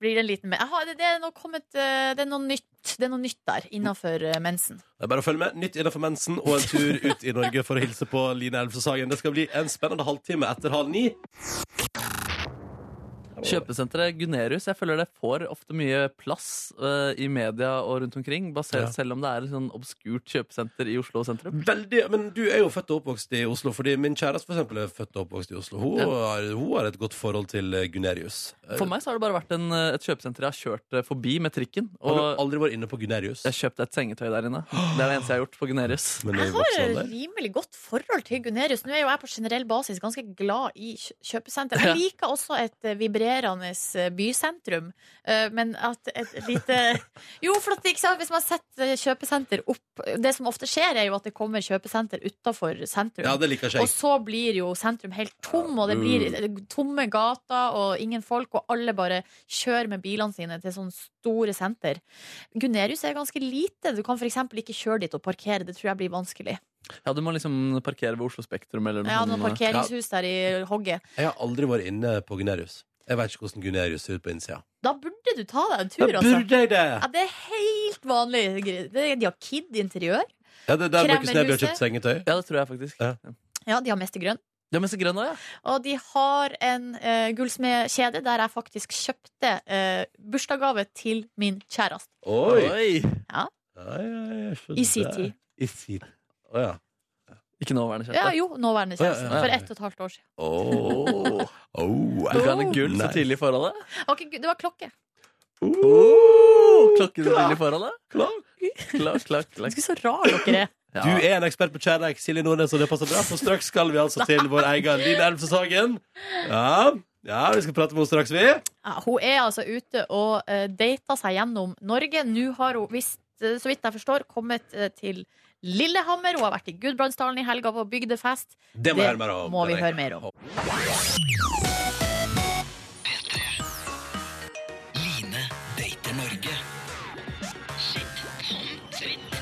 blir det en liten men- jeg har, det, det, er noe kommet, eh, det er noe nytt Det er noe nytt der innafor mensen. Det er bare å følge med. Nytt innenfor mensen og en tur ut i Norge for å hilse på Line Elvsås Hagen. Det skal bli en spennende halvtime etter halv ni. Kjøpesenteret Gunerius jeg føler det får ofte mye plass eh, i media og rundt omkring, basert, Ja. selv om det er et sånn obskurt kjøpesenter i Oslo sentrum. Veldig, men du er jo født og oppvokst i Oslo, fordi min kjæreste for eksempel er født og oppvokst i Oslo. Hun, Ja. har, hun har et godt forhold til eh, Gunerius. Eh, For meg så har det bare vært en, eh, et kjøpesenter jeg har kjørt eh, forbi med trikken. Har du Og aldri vært inne på Gunerius? jeg kjøpte et sengetøy der inne. Det er det eneste jeg har gjort på Gunerius. Men i Jeg voksen har alder? rimelig godt forhold til Gunerius. Nå er jo jeg på generell basis ganske glad i kjø- kjøpesenter. Jeg liker også et eh, vibrerende eh, bysentrum, eh, men at et lite (laughs) Jo, for at, ikke sant? hvis man setter kjøpesenter opp Det som ofte skjer, er jo at det kommer kjøpesenter utafor sentrum. Ja, det liker ikke Og jeg. så blir jo sentrum helt tom, og det blir uh. eh, tomme gater og ingen folk, og alle bare kjører med bilene sine til sånne store senter. Gunerius er ganske lite. Du kan f.eks. ikke kjøre dit og parkere, det tror jeg blir vanskelig. Ja, du må liksom parkere ved Oslo Spektrum eller Jeg hadde sånn, noen eh, parkeringshus der i hogget. Jeg har aldri vært inne på Gunerius. Jeg vet ikke hvordan Gunerius ser ut på innsida. Da burde du ta deg en Da tur, altså. burde jeg det! Ja, det er helt vanlig. Det- De har Kid interiør. Ja, det er der Markus Neby har Kremmerhuset. kjøpt sengetøy. Ja, det tror jeg faktisk. Ja. Ja, de har Mester Grønn. Det er mest grønn også, ja. Og de har en uh, gullsmedkjede der jeg faktisk kjøpte eh, bursdagsgave til min kjæreste. Oi! Ja. Ja, ja, ja, skjønner. I sin tid. I sin Å ja. Ikke nåværende kjæreste. Ja, jo, nåværende kjæreste. Ja, ja, ja. For ett og et halvt år siden. Åh. Åh. Du ga henne gull så Nice. tidlig i forholdet? Ok, gu- det var klokke. Åh. Klokken så tidlig i forholdet? Klokk. Klokk, klokk, klokk. Ganske så rar (laughs) dere er. Ja. Du er en ekspert på kjærleik, Silje Nordnes, og det passer bra, for straks skal vi altså til vår egen Line Elvsås Hagen. Ja, ja, vi skal prate med henne straks, vi. Ja, hun er altså ute og uh, data seg gjennom Norge. Nå har hun, hvis, eh, så vidt jeg forstår, kommet eh, til Lillehammer. Hun har vært i Gudbrandsdalen i helga på bygdefest. Det må, jeg høre mer om. må vi Det er høre jeg. mer om. Line dater Norge. Shit, sånn dritt.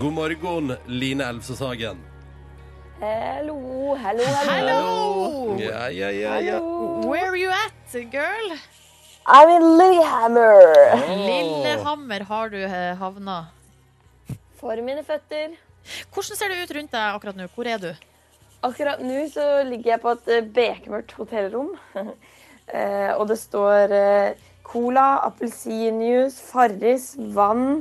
God morgen, Line Elvsås Hagen. Hallo, hallo, hallo. Hello! Ja, ja, ja, ja. Where are you at, girl? I'm in Lillehammer. Lillehammer har du eh, havna. For mine føtter. Hvordan ser det ut rundt deg akkurat nå? Hvor er du? Akkurat nå så ligger jeg på et eh, bekmørkt hotellrom. (laughs) Eh, og det står eh, cola, appelsinjuice, Farris, vann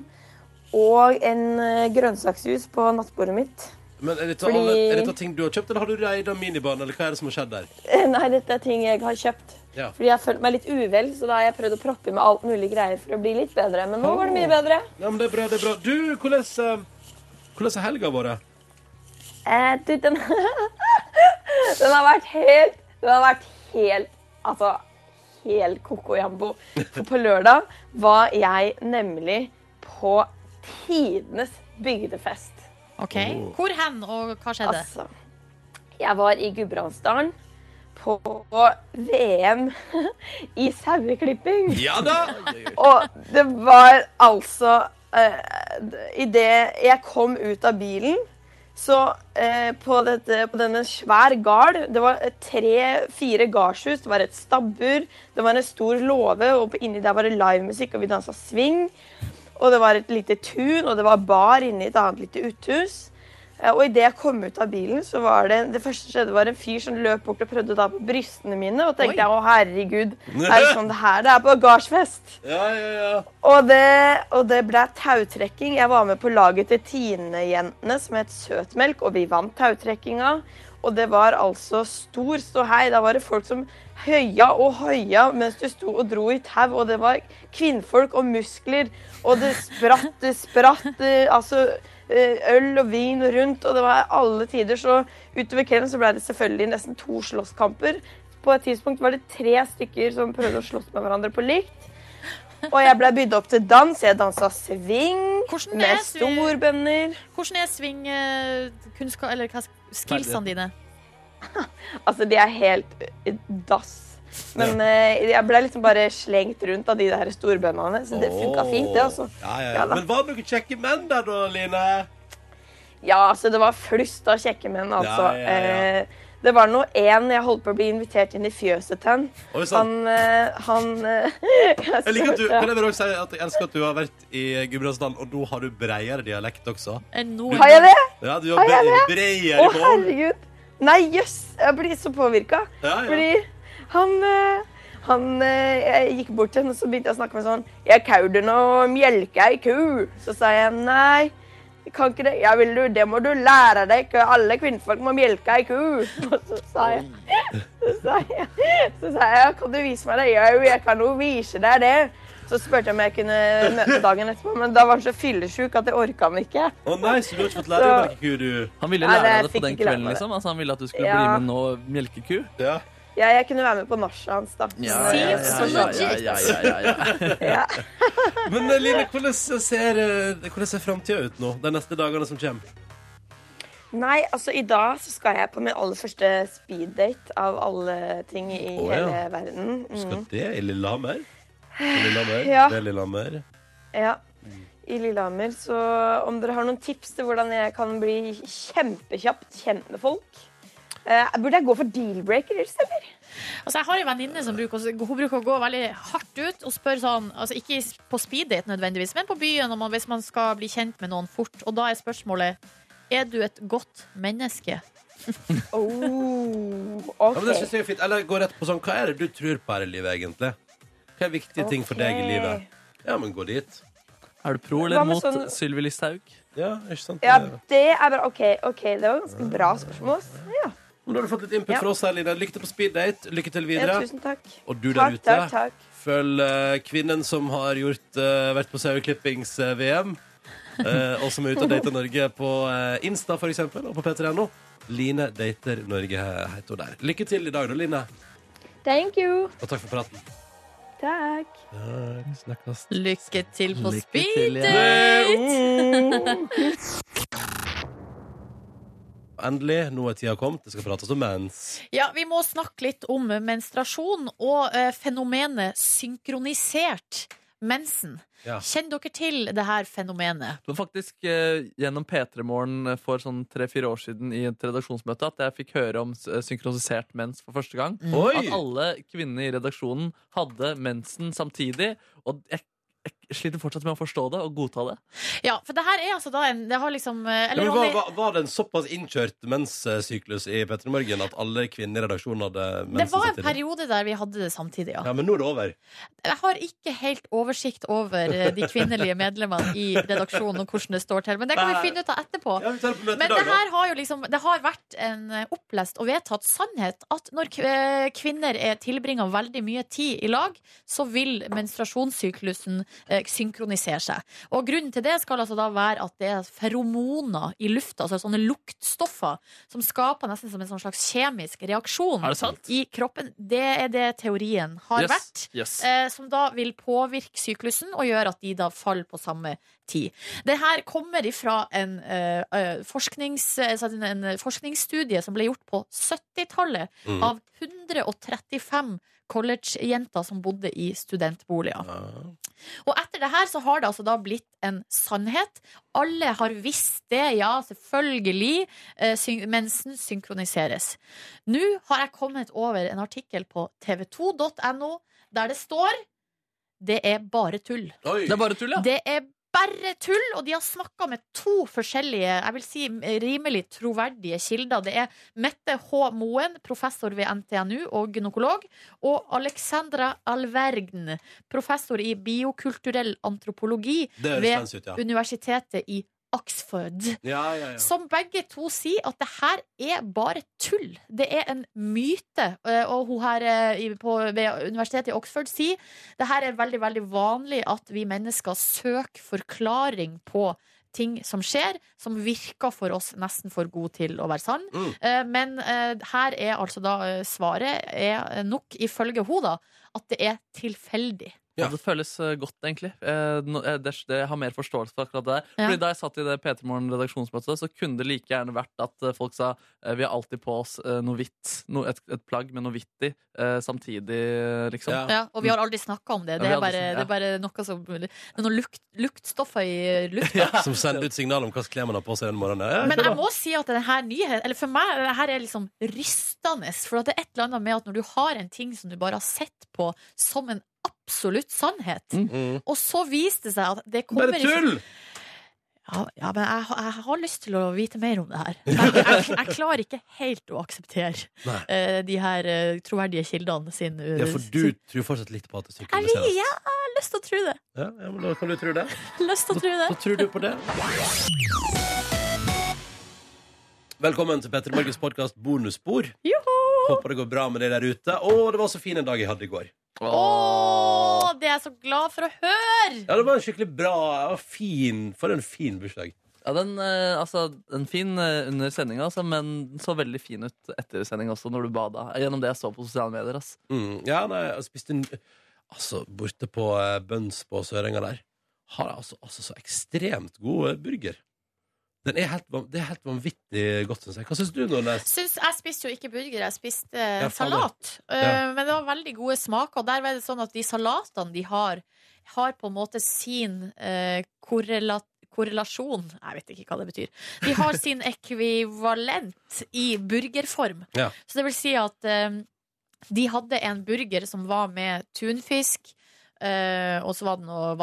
og en eh, grønnsaksjus på nattbordet mitt. Men er dette, Fordi- alle, er dette ting du har kjøpt, eller har du reid av minibanen, eller hva er det som har skjedd der? Nei, dette er eh, ting jeg har kjøpt. Ja. Fordi jeg har følt meg litt uvel, så da har jeg prøvd å proppe i med alt mulig greier for å bli litt bedre. Men nå var det mye bedre. Ja, men det er bra, det er bra. Du, hvordan, eh, hvordan er helga vår? Eh, du, den, (laughs) den har vært helt Den har vært helt Altså helt koko jambo. For på lørdag var jeg nemlig på tidenes bygdefest. OK. Hvor hen, og hva skjedde? Altså, jeg var i Gudbrandsdalen på VM i saueklipping. Ja da! (laughs) Og det var altså eh, Idet jeg kom ut av bilen, så eh, på, dette, på denne svær gard Det var tre-fire gardshus, det var et stabbur, det var en stor låve, og på- inni der var det livemusikk, og vi dansa swing. Og det var et lite tun, og det var bar inne i et annet lite uthus. Eh, Og idet jeg kom ut av bilen, så var det det første som skjedde, var en fyr som løp bort og prøvde å ta på brystene mine. Og tenkte jeg, å herregud, er det sånn det her det er på gardsfest? Ja, ja, ja. Og det, og det ble tautrekking. Jeg var med på laget til Tine-jentene, som het Søtmelk, og vi vant tautrekkinga. Og det var altså stor ståhei. Da var det folk som høya og høya mens du sto og dro i tau, og det var kvinnfolk og muskler, og det spratt, det spratt, eh, altså eh, øl og vin rundt, og det var alle tider. Så utover kvelden så ble det selvfølgelig nesten to slåsskamper. På et tidspunkt var det tre stykker som prøvde å slåss med hverandre på likt. Og jeg ble bydd opp til dans. Jeg dansa swing er med swi- storbønder. Hvordan er svingkunnskap... Eller hva skillsene dine? Altså, de er helt eh, dass. Men eh, jeg ble liksom bare slengt rundt av de der storbøndene, så det funka fint, det. altså. Ja, ja, Ja ja. da. Men var det noen kjekke menn der, da, Line? Ja, altså, det var flust av kjekke menn, altså. Ja, ja, ja. Eh, det var nå én jeg holdt på å bli invitert inn i fjøset til. Oi, Han, sant. eh, han eh, Jeg liker at du, kan jeg bare også si at jeg elsker at du har vært i Gudbrandsdalen, og nå har du bredere dialekt også. Har jeg det? Ja, du har, Har jeg det? bre- bredere Å, bånd. herregud. Nei, jøss. Jeg blir så påvirka. Ja, ja. Fordi han, eh, han eh, Jeg gikk bort til henne, og så begynte jeg å snakke med sånn Jeg kauder nå, mjelker ei ku. Så sa jeg nei. jeg Kan ikke det? Ja, vil du, det må du lære deg. ikke Alle kvinnfolk må mjelke ei ku. (laughs) Og så sa jeg Så sa jeg, så sa jeg kan du vise meg det? Jau, jeg kan jo vise deg det. Så spurte jeg om jeg kunne møte dagen etterpå, men da var han så fyllesjuk at det orka han ikke. Å nei, så du har ikke fått lære deg å Så- melke ku, du? Han ville Nei, lære jeg deg det fikk på den ikke lære kvelden, meg det. liksom? Altså, han ville at du skulle Ja. bli med nå, melkeku? Ja. Ja, jeg kunne være med på nachet hans, da. Ja, ja, ja, Seems ja, legit. ja, ja, ja, ja, ja. Men eh, Line, hvordan ser, eh, hvordan ser framtida ut nå? De neste dagene som kommer? Nei, altså i dag så skal jeg på min aller første speeddate av alle ting i Å, ja. hele verden. Skal Mm. det i Lillehammer? På Lillehammer? Ja. Det er Lillehammer. Ja. I Lillehammer. Så om dere har noen tips til hvordan jeg kan bli kjempekjapt kjent med folk eh, Burde jeg gå for deal-breakers, eller? Altså, jeg har en venninne som bruker, å- hun bruker å gå veldig hardt ut og spørre sånn altså, Ikke i- på speeddate nødvendigvis, men på byen om man, hvis man skal bli kjent med noen fort. Og da er spørsmålet Er du et godt menneske? Oh, Ja, men det synes jeg er fint. Eller gå rett på sånn, hva er det du tror på her i livet, egentlig? Hva er viktige ting for deg i Ok. livet? Ja, men gå dit. Er du pro Hva eller med mot sånn- Sylvi Listhaug? Ja, ikke sant? Eh, Ja, Men det er bra. OK, ok, det var ganske bra spørsmål. ass. Ja, da har du fått litt input Ja. fra oss her, Line. Lykke til på speeddate. Lykke til ja videre. tusen takk. Og du der Takk, ute, takk, takk. følg eh, kvinnen som har gjort, eh, vært på saueklippings-VM, eh, og som er ute og dater Norge på eh, Insta, for eksempel, og på p3.no. Line dater Norge eh, heter hun der. Lykke til i dag, da, Line. Thank you. Og takk for praten. Takk. Takk, snakkes. Lykke til på Lykke til, ja. speeddate! Endelig, nå er tida kommet. Det skal prates om mens. ja, vi må snakke litt om menstruasjon og eh, fenomenet synkronisert mensen. Ja. Kjenner dere til det her fenomenet? Det var faktisk eh, gjennom P3 Morgen for sånn tre-fire år siden i et redaksjonsmøte at jeg fikk høre om s- synkronisert mens for første gang. Oi! At alle kvinnene i redaksjonen hadde mensen samtidig. Og jeg, jeg sliter fortsatt med å forstå det og godta det. Ja, for det her er altså da en Det har liksom eh, Ja, eller men var, Ronny- var, var det en såpass innkjørt menssyklus i Petter Morgen at alle kvinner i redaksjonen hadde mensen? Det var en samtidig? periode der vi hadde det samtidig, ja. Ja, men nå er det over. Jeg har ikke helt oversikt over eh, de kvinnelige medlemmene i redaksjonen og hvordan det står til, men det kan vi Nei. finne ut av etterpå. Ja, vi tar det på møte i Men det dag, da. her har jo liksom Det har vært en eh, opplest og vedtatt sannhet at når kv- eh, kvinner er tilbringer veldig mye tid i lag, så vil menstruasjonssyklusen eh, synkronisere seg. Og grunnen til det skal altså da være at det er feromoner i lufta, altså sånne luktstoffer, som skaper nesten som en sånn slags kjemisk reaksjon Er det sant? i kroppen. Det er det teorien har vært yes. eh, som da vil påvirke syklusen og gjøre at de da faller på samme 2010. Det her kommer ifra en, eh, eh, forsknings, altså en, en forskningsstudie som ble gjort på 70-tallet Mm. av 135 collegejenter som bodde i studentboliger. Og etter det her så har det altså da blitt en sannhet. Alle har visst det, ja, selvfølgelig. eh, syn- Mensen synkroniseres. Nå har jeg kommet over en artikkel på tv2.no der det står det er bare tull. Det er bare tull, ja. Det er bare tull, og de har snakka med to forskjellige, jeg vil si rimelig troverdige kilder. Det er Mette H. Moen, professor ved NTNU og gynekolog, og Alexandra Alvergn, professor i biokulturell antropologi Det høres ved fancy ut, ja. Universitetet i Oxford. Ja, ja, ja. Som begge to sier at det her er bare tull. Det er en myte. Eh, Og hun her eh, i- på, ved universitetet i Oxford sier det her er veldig, veldig vanlig at vi mennesker søker forklaring på ting som skjer, som virker for oss nesten for god til å være sann. Mm. Eh, Men eh, her er altså da eh, svaret er nok, ifølge hun da, at det er tilfeldig. Og det føles eh, godt, egentlig. Eh, nå- eh, det, det jeg har mer forståelse for akkurat det der. Ja. Fordi Da jeg satt i det P3 Morgen-redaksjonsmøtet, så kunne det like gjerne vært at eh, folk sa eh, vi har alltid på oss eh, noe hvitt, no, et, et plagg med noe hvitt i, eh, samtidig, eh, liksom. Ja, og vi har aldri snakka om det. Ja, Det vi er har bare, aldri det er bare noe som Det er noen lukt, luktstoffer i lufta. Som sender ut signal om hva slags klær man har på seg den morgenen. Ja, Men kjør jeg da. må si at denne nyheten Eller for meg, det her er liksom rystende. For at det er et eller annet med at når du har en ting som du bare har sett på som en absolutt sannhet, og så viser det seg at det kommer Mm. Bare ikke- tull! Ja, ja, men jeg, har- jeg har lyst til å vite mer om det her. Jeg, jeg, jeg klarer ikke helt å akseptere Nei. eh, de her eh, troverdige kildene sin Ja, for du tror fortsatt litt på at det Jeg, vil- synkroniseres. jeg har lyst til å tro det. Ja, ja, men da kan du tro det. Lyst til å tro det. Hva tror du på det? Velkommen til Petter Morgens podkast Bonusspor. Håper det går bra med deg der ute. Å, det var så fin en dag jeg hadde i går. Å, det er jeg så glad for å høre! Ja, det var en skikkelig bra og fin For en fin bursdag. Ja, den, eh, altså, den fin eh, under sendinga, altså, men den så veldig fin ut etter sending også, når du bada. Gjennom det jeg så på sosiale medier. ass. Mm, ja, nei, jeg spiste en Altså, borte på eh, Bøns på Sørenga der har jeg altså, altså så ekstremt god eh, burger. Den er helt, van- det er helt vanvittig godt, syns jeg. Hva syns du, Nordnes? Syns, jeg spiste jo ikke burger, jeg spiste eh, Ja, faen, salat. ja. Eh, Men det var veldig gode smaker. Og der var det sånn at de salatene de har, har på en måte sin eh, korrela korrelasjon Jeg vet ikke hva det betyr. De har sin ekvivalent i burgerform. Ja. Så det vil si at eh, de hadde en burger som var med tunfisk, eh, og så var det noe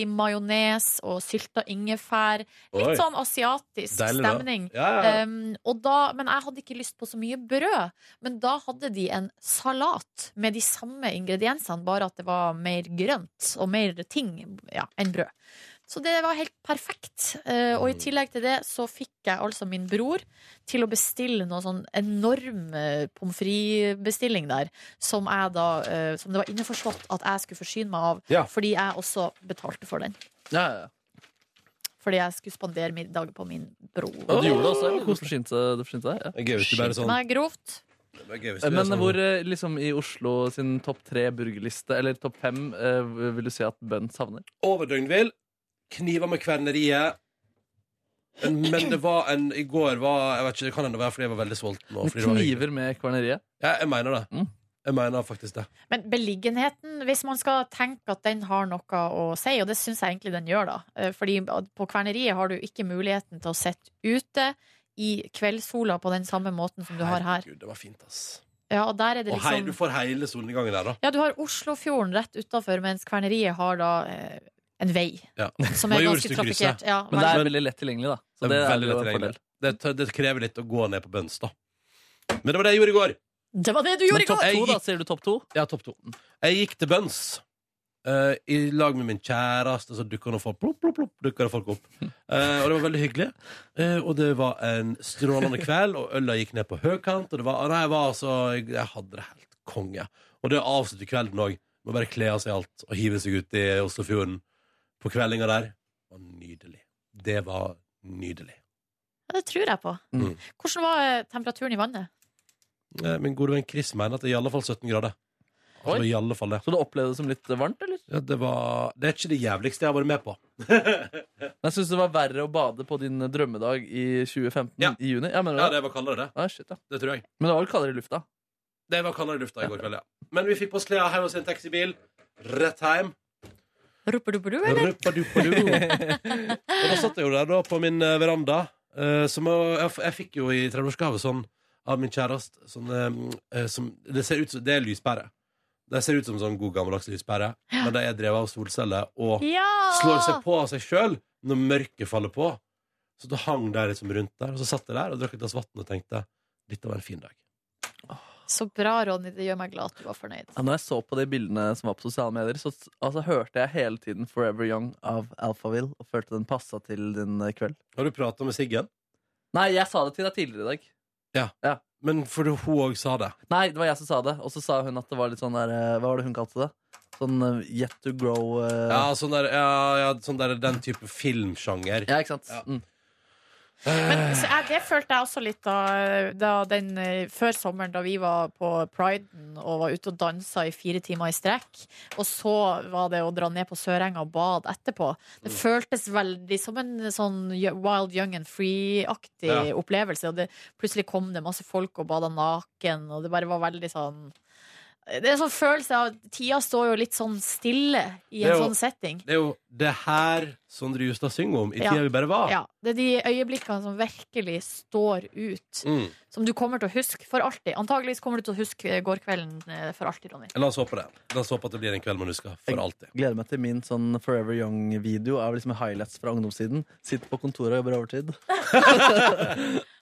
wasabi-majones og sylta ingefær. Litt Oi. sånn asiatisk Deilig, da. stemning. Ja, ja, ja. Um, og da, men jeg hadde ikke lyst på så mye brød. Men da hadde de en salat med de samme ingrediensene, bare at det var mer grønt og mer ting ja, enn brød. Så det var helt perfekt. Eh, og i Mm. tillegg til det så fikk jeg altså min bror til å bestille noe sånn enorm eh, pommes frites-bestilling der, som, jeg da, eh, som det var innforstått at jeg skulle forsyne meg av, Ja. fordi jeg også betalte for den. Ja, ja, ja. Fordi jeg skulle spandere middag på min bror. Og du gjorde det også? eller? Du forsynte, du forsynte deg? Ja. Gøy, hvis du bare sånn- Nei, grovt. Eh, Men hvor eh, liksom i Oslo sin topp tre burgerliste, eller topp fem, eh, vil du si at Bønns havner? Over døgnvill. Kniver med kverneriet. Men, men det var en I går var Jeg vet ikke, det kan hende være fordi jeg var veldig sulten. Og Med fordi det var hyggelig. Kniver med kverneriet? ja, jeg mener det. Mm. Jeg mener faktisk det. Men beliggenheten, hvis man skal tenke at den har noe å si, og det syns jeg egentlig den gjør, da. Eh, Fordi at på kverneriet har du ikke muligheten til å sitte ute i kveldssola på den samme måten som du har her. Herregud, det var fint, ass. Ja, og der er det Og hei, du liksom får hele solnedgangen der, da. Ja, du har Oslofjorden rett utafor, mens kverneriet har da eh, en vei. Ja. Som er ganske Majorstukrysset. trafikkert, ja, Men det er veldig lett tilgjengelig, da. Så det det, er er veldig jo lett en tilgjengelig. fordel. det, t- det krever litt å gå ned på Bøns, da. Men det var det jeg gjorde i går. Det var det du gjorde i går! to, da, sier du topp to? Ja, topp to. Mm. Jeg gikk til Bøns eh, i lag med min kjæreste, så dukka det folk, plopp, plopp, plopp, dukket det folk (laughs) opp. Eh, og det var veldig hyggelig. Eh, og det var en strålende kveld, og øla gikk ned på høykant, og det var Nei, jeg var altså Jeg, jeg hadde det helt konge. Og det avslutter kvelden òg. Må bare kle av seg alt og hive seg ut i Oslofjorden på kveldinga der. Det var nydelig. Det var nydelig. Ja, det tror jeg på. Mm. Hvordan var eh, temperaturen i vannet? Eh, Min gode venn Chris mener at det er i alle fall 17 grader. Det var i alle fall det. Så du opplevde det som litt varmt, eller? Ja, det, var, det er ikke det jævligste jeg har vært med på. Jeg syns det var verre å bade på din drømmedag i 2015 i juni. Jeg mener Ja, det var kaldere, det. Ah, shit, ja. Det tror jeg. Men det var vel kaldere i lufta? Det var kaldere i lufta i går kveld, ja. Men vi fikk på oss klærne, heiv oss i en taxibil, rett hjem. Rupedupedu, eller? Ruppaduppadu. Og da satt jeg jo der da på min eh, veranda, eh, som jeg, jeg, f- jeg fikk jo i 30-årsgave sånn av min kjæreste, sånn, eh, eh, som det ser ut som Det er lyspære. Det ser ut som sånn god gammeldags lyspære, men det er drevet av solceller og Ja! slår seg på av seg sjøl når mørket faller på. Så det hang der liksom rundt der, og så satt jeg der og drakk et glass vann og tenkte dette var en fin dag. Så bra, Ronny. Det gjør meg glad at du var fornøyd. Ja, når jeg så på de bildene som var på sosiale medier, så s- altså, hørte jeg hele tiden Forever Young av Alphaville, og følte den passa til din eh, kveld. Har du prata med Siggen? Nei, jeg sa det til deg tidligere i dag. Ja. Men for hun òg sa det. Nei, det var jeg som sa det, og så sa hun at det var litt sånn der eh, Hva var det hun kalte det? Sånn eh, yet to grow eh, Ja, sånn der, ja, ja, sånn der den type filmsjanger. Ja, ikke sant? Mm. Men så jeg, det følte jeg også litt da, da den, eh, før sommeren, da vi var på priden og var ute og dansa i fire timer i strekk. Og så var det å dra ned på Sørenga og bade etterpå. Det Mm. føltes veldig som en sånn y- Wild Young and Free-aktig Ja. opplevelse. Og det, plutselig kom det masse folk og bada naken, og det bare var veldig sånn det er en sånn følelse av at Tida står jo litt sånn stille i Det er en jo- sånn setting. Det er jo det her Sondre Justad synger om i Ja. tida vi bare var. Ja, Det er de øyeblikkene som virkelig står ut. Mm. Som du kommer til å huske for alltid. Antageligvis kommer du til å huske gårdkvelden eh, for alltid, Ronny. La oss håpe det. La oss håpe at det blir en kveld man husker for alltid. Gleder meg til min sånn Forever Young-video av liksom highlights fra ungdomstiden. Sitter på kontoret og jobber overtid.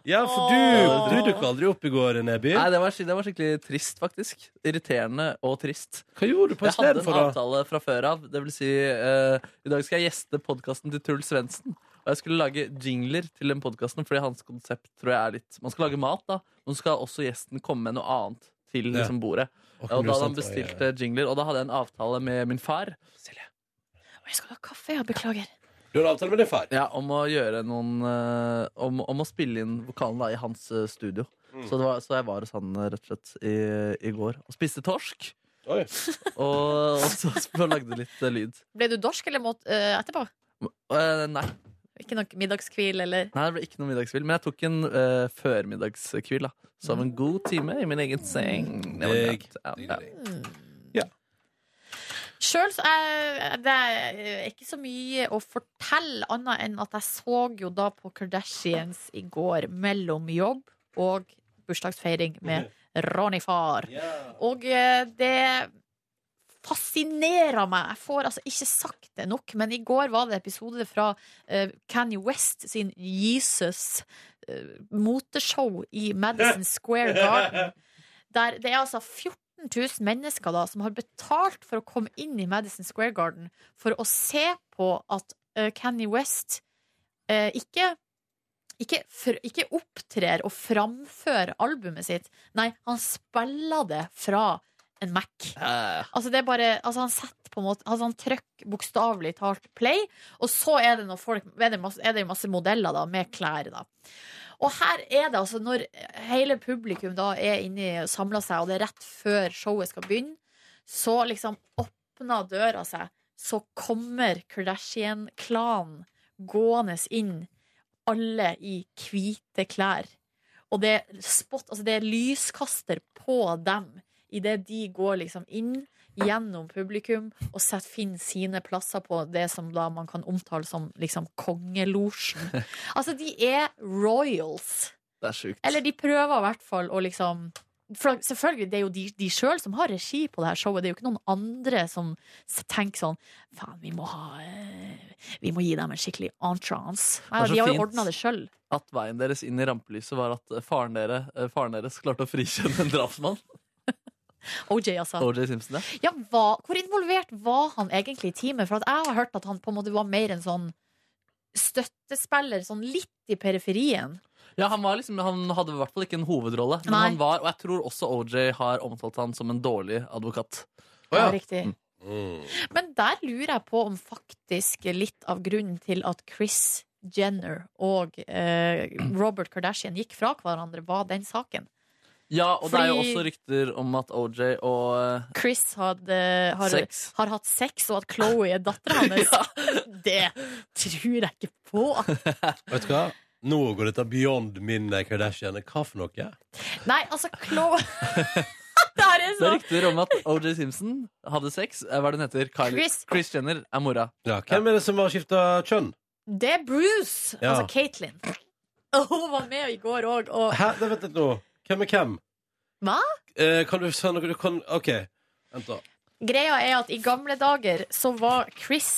Ja, for du, du dukka aldri opp i går, Neby. Nei, det var, skik- det var skikkelig trist, faktisk. Irriterende og trist. Hva gjorde du på Jeg hadde en stedet for, da? avtale fra før av. Det vil si, eh, i dag skal jeg gjeste podkasten til Truls Svendsen. Og jeg skulle lage jingler til den podkasten, fordi hans konsept tror jeg er litt Man skal lage mat, da, men så skal også gjesten komme med noe annet til Ja. liksom, bordet. Og Og da hadde han kongressant bestilt eh, jingler, og da hadde jeg en avtale med min far. Å, Jeg skal ha kaffe, ja. Beklager. Du har avtale med din far? Ja, om å gjøre noen eh, om, om å spille inn vokalen da, i hans eh, studio. Mm. Så, det var, så jeg var hos han eh, rett og slett i, i går og spiste torsk. Oi. (laughs) Og, og så (laughs) sp- og lagde litt eh, lyd. Ble du dorsk eller måt, eh, etterpå? Eh, nei. Ikke noe middagskvil eller nei, det ble ikke noe middagskvil. Men jeg tok en eh, førmiddagskvil. da Sov en god time i min egen seng. Det var Digg, greit. Ja, ja. Sjøl så er det er ikke så mye å fortelle annet enn at jeg så jo da på Kardashians i går mellom jobb og bursdagsfeiring med Ronny far. Og eh, det fascinerer meg. Jeg får altså ikke sagt det nok, men i går var det episode fra eh, Kanye West sin Jesus eh, moteshow i Madison Square Garden. Der det er altså 14 000 mennesker da, som har betalt for å komme inn i Madison Square Garden for å se på at eh, Kanye West eh, ikke ikke, fr- ikke opptrer og framfører albumet sitt. Nei, han spiller det fra en Mac. Altså, det er bare Altså, han setter på en måte Altså, han trykker bokstavelig talt play, og så er det noen folk Er det masse, er det masse modeller, da, med klær, da. Og her er det altså når hele publikum da er inni og samler seg, og det er rett før showet skal begynne, så liksom åpner døra seg, så kommer Kardashian-klanen gående inn, alle i hvite klær. Og det er, spot, altså det er lyskaster på dem idet de går liksom inn gjennom publikum og setter, finner sine plasser på det som da man kan omtale som liksom kongelosjen. Altså, de er royals. Det er sjukt. Eller de prøver i hvert fall å liksom for Selvfølgelig, det er jo de, de sjøl som har regi på det her showet. Det er jo ikke noen andre som s- tenker sånn Faen, vi må ha eh, Vi må gi dem en skikkelig entrance. Nei, Det er så de har fint. jo ordna det sjøl. At veien deres inn i rampelyset var at eh, faren, dere, eh, faren deres klarte å frikjenne en (laughs) drapsmann. OJ, altså. OJ Simpson, ja. Ja, hva, hvor involvert var han egentlig i teamet? For at jeg har hørt at han på en måte var mer en sånn støttespiller, sånn litt i periferien. Ja, han, var liksom, han hadde i hvert fall ikke en hovedrolle. Men Nei. han var, og jeg tror også OJ har omtalt han som en dårlig advokat. Ja, riktig. Mm. Men der lurer jeg på om faktisk litt av grunnen til at Chris (clears throat) Jenner og eh, Robert Kardashian gikk fra hverandre, var den saken. Ja, og det er jo Fordi- også rykter om at OJ og eh, Chris hadde, har, Sex. har hatt sex, og at Chloé er dattera (laughs) hans. Det tror jeg ikke på. Vet du hva? Nå går dette beyond min eh, Kardashian. Hva for noe? Nei, altså, (laughs) Chloé Det her er Det er sånn rykter om at OJ Simpson hadde sex. Eh, Hva er det hun heter? Kylie- Chris. Chris Jenner er mora. Hvem er det som har skifta kjønn? Det er Bruce! Ja. Altså Katelyn. Og Hun var med i går òg, og Hæ? Nei, vent litt nå. Hvem er hvem? Hva? Eh, kan du si noe du kan OK. Vent, da. Greia er at i gamle dager så var Chris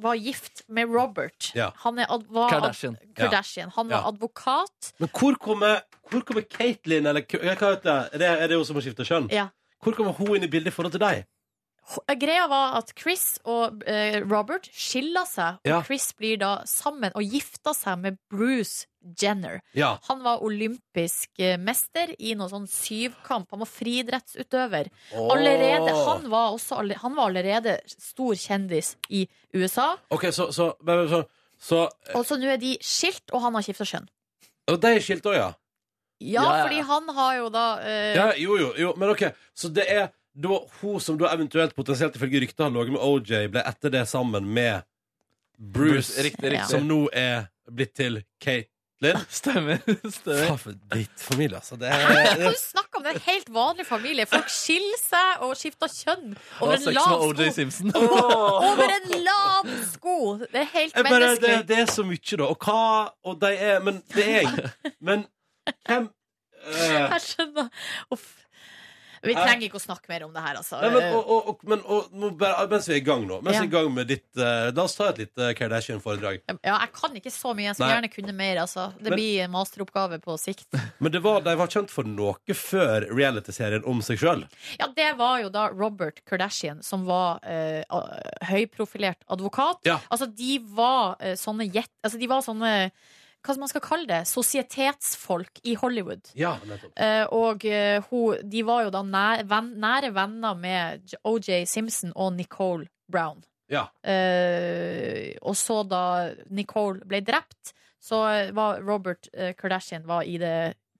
var gift med Robert. Ja. Han er ad, var ad- Kardashian. Kardashian. Han var Ja. advokat. Men hvor kommer, hvor kommer Caitlyn, eller k- hva heter det? Er det, er det hun som har skifta kjønn? Ja. Hvor kommer hun inn i bildet i forhold til deg? Greia var at Chris og eh, Robert skiller seg, og Ja. Chris blir da sammen og gifter seg med Bruce Jenner. Ja. Han var olympisk eh, mester i noe sånn syvkamp. Han var friidrettsutøver. Åh. Allerede, han, var også, alle- han var allerede stor kjendis i USA. OK, så Så, men- så, så, Og så nå er de skilt, og han har skifta skjønn. Og de er skilt òg, ja? Ja, fordi han har jo da eh, Ja, jo, jo, jo, men ok Så det er da hun som da eventuelt potensielt ifølge ryktet har ligget med OJ, ble etter det sammen med Bruce, Bruce, riktig, riktig. som nå er blitt til Caitlyn. Stemmer. Faen for drittfamilie, altså. Det Hæ? er Kan du snakke om det? En helt vanlig familie. Folk skiller seg og skifter kjønn Og over en sex lav med sko. OJ (laughs) Simpson. Over en lav sko! Det er helt Jeg bare, det, menneskelig. det er så mye, da. Og hva Og de er Men det er Men hvem eh, Jeg skjønner. Uff. Vi Hæ? trenger ikke å snakke mer om det her, altså. Nei, men, og, og, og, men og, nå bare, mens vi er i gang nå Mens vi er i gang med ditt eh, La oss ta et lite Kardashian-foredrag. Eh, ja, jeg kan ikke så mye. Jeg skulle Nei. gjerne kunne mer. Altså. Det Men- blir en masteroppgave på sikt. Men det var, de var kjent for noe før realityserien om seg sjøl. Ja, det var jo da Robert Kardashian, som var eh, a- høyprofilert advokat. Ja. Altså, de var eh, sånne jet... Altså, de var sånne hva skal man skal kalle det? Sosietetsfolk i Hollywood. Ja, nettopp. Eh, og eh, hun, de var jo da nære, venn, nære venner med J- OJ Simpson og Nicole Brown. Ja. Eh, og så da Nicole ble drept, så var Robert eh, Kardashian var i det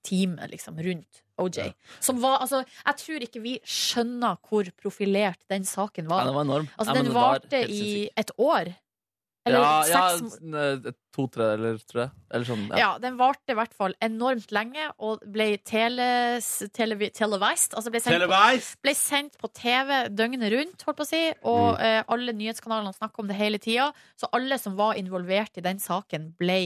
teamet liksom, rundt OJ. Som var, altså, jeg tror ikke vi skjønner hvor profilert den saken var. Ja, den var enorm. Altså, Ja, men den det var varte helt i sinnssykt. et år. Eller Ja, ja seks måneder. n- to-tre, eller, tror jeg. Eller sånn. Ja. den varte i hvert fall enormt lenge og ble teles, televi- televised. Altså ble sendt, Televised? På, ble sendt på TV døgnet rundt, holdt på å si, og Mm. eh, alle nyhetskanalene snakka om det hele tida. Så alle som var involvert i den saken, ble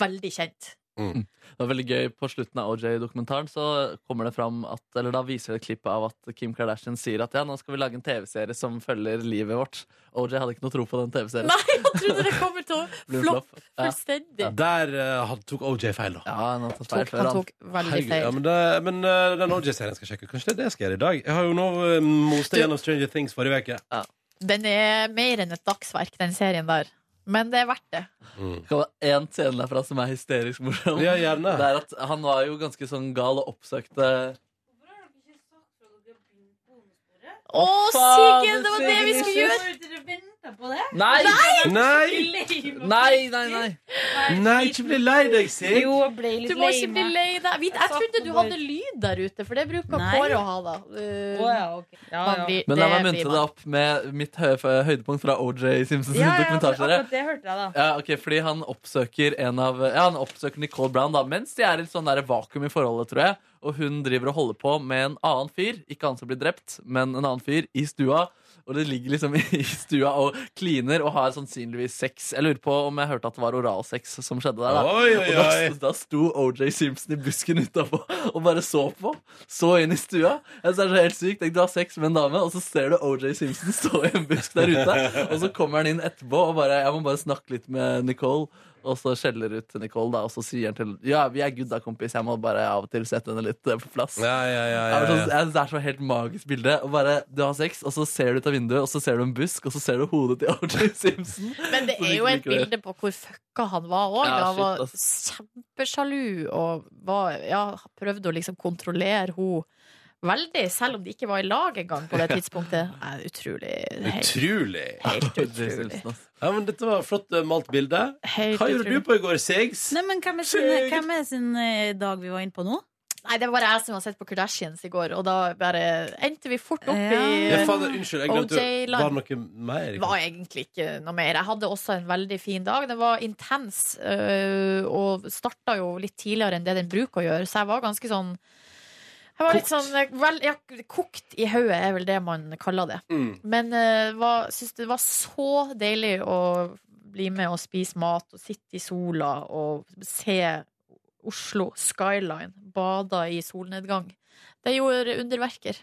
veldig kjent. (laughs) Det var veldig gøy På slutten av OJ-dokumentaren Så kommer det fram at, Eller da viser det et klipp av at Kim Kardashian sier at Ja, nå skal vi lage en tv-serie som følger livet vårt OJ hadde ikke noe tro på den tv-serien Nei, jeg trodde det kommer til å Blir en floppe flopp. Ja. fullstendig. Der eh, han tok OJ feil, da. Ja, han har tatt feil Tok- før, han han. tok veldig feil. Ja, men det, men eh, den OJ-serien skal jeg sjekke ut. Kanskje det er det jeg skal gjøre i dag? Jeg har jo nå eh, most gjennom Stranger Things forrige uke. Den er mer enn et dagsverk, den serien der. Men det er verdt det. Skal det en scene derfra som er hysterisk morsom Ja, gjerne. Det er at han var jo ganske sånn gal og oppsøkte Å, faen, Siggen! Det var det vi Siggen, skulle gjøre! Dere venter på det? Nei! Nei! Nei, nei, nei Nei, ikke bli lei deg, Sig! Jo, jeg ble litt Du må ikke lei bli meg. lei deg. Vi- Jeg Jeg trodde du satt og hadde bare- lyd der ute, for det bruker Nei. Kåre å ha, da. Uh, Å, ja, ok. Ja, man ja. blir- Men la meg blir muntre man. det opp med mitt hø høydepunkt fra OJ Simpsons Ja, ja, for dokumentarserie akkurat det hørte jeg, da. Ja, ok, fordi han oppsøker en av Ja, han oppsøker Nicole Brown da Mens de er i et sånn der vakuum i forholdet, tror jeg Og hun driver og holder på med en annen fyr Ikke han som blir drept, men en annen fyr I stua Og det ligger liksom (laughs) i stua og kliner Og har sannsynligvis sex Jeg lurer på om jeg hørte at det var oralsex som skjedde der da Oi, oi, (laughs) Og da, oi. da sto O.J. Simpson i busken utenpå Og bare så på Så inn i stua Jeg synes det er så helt sykt Tenk du har sex med en dame Og så ser du O.J. Simpson (laughs) stå i en busk der ute Og så kommer han inn etterpå Og bare, jeg må bare snakke litt med Nicole Og så skjeller ut til Nicole da Og så sier han til Ja, vi er gudda kompis Jeg må bare av og til sette henne litt eh, på plass Ja, ja, ja, Jeg ja, var sånn- ja. jeg synes Det er så helt magisk bilde Og bare, du har sex Og så ser du ut av vinduet Og så ser du en busk Og så ser du hodet til (laughs) O.J. Simpson Men det Så er jo liker et du ikke det. bilde på hvor fucka han var òg. Ja, han shit, var kjempesjalu og var, ja, prøvde å liksom kontrollere henne veldig, selv om de ikke var i lag engang på (laughs) det tidspunktet. Nei, utrolig. Helt, Utrolig. (laughs) helt utrolig. Ja, men Dette var et flott eh, malt bilde. Helt Hva gjorde utrolig. du på i går, Sigs? Nei, men hvem er, sin, Sigurd! hvem er sin eh, dag vi var inne på nå? Nei, det var bare jeg som har sett på Kardashians i går, og da bare endte vi fort opp i Ja, fader, unnskyld, jeg glemte OJ Var Land. det noe mer? Det var egentlig ikke noe mer. Jeg hadde også en veldig fin dag. Den var intens, øh, og starta jo litt tidligere enn det den bruker å gjøre, så jeg var ganske sånn jeg var litt sånn, eh, vel, ja, Kokt i hodet er vel det man kaller det. Mm. Men eh, var, syns det var så deilig å bli med og spise mat og sitte i sola og se Oslo skyline bada i solnedgang. Det gjorde underverker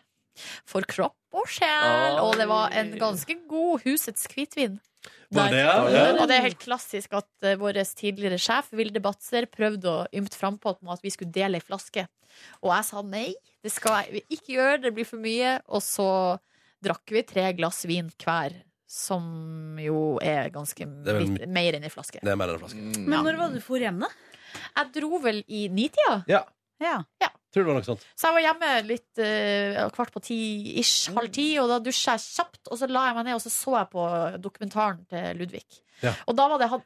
for kropp og sjel, og det var en ganske god husets hvitvin. Var det, Der. ja? Og det er helt klassisk at eh, vår tidligere sjef, Vilde Batzer, prøvde å ymte frampå med at vi skulle dele ei flaske. Og jeg sa nei, det skal jeg ikke gjøre, det blir for mye. Og så drakk vi tre glass vin hver, som jo er ganske Det er vel litt my- mer enn ei flaske. Det er mer enn en flaske. Men når var det du for hjem, da? Jeg dro vel i nitida. Ja. Ja. Tror det var noe sånt. Så jeg var hjemme litt eh, kvart på ti-ish, halv ti, og da dusja jeg kjapt. Og så la jeg meg ned og så så jeg på dokumentaren til Ludvig. Ja. Og da var det her,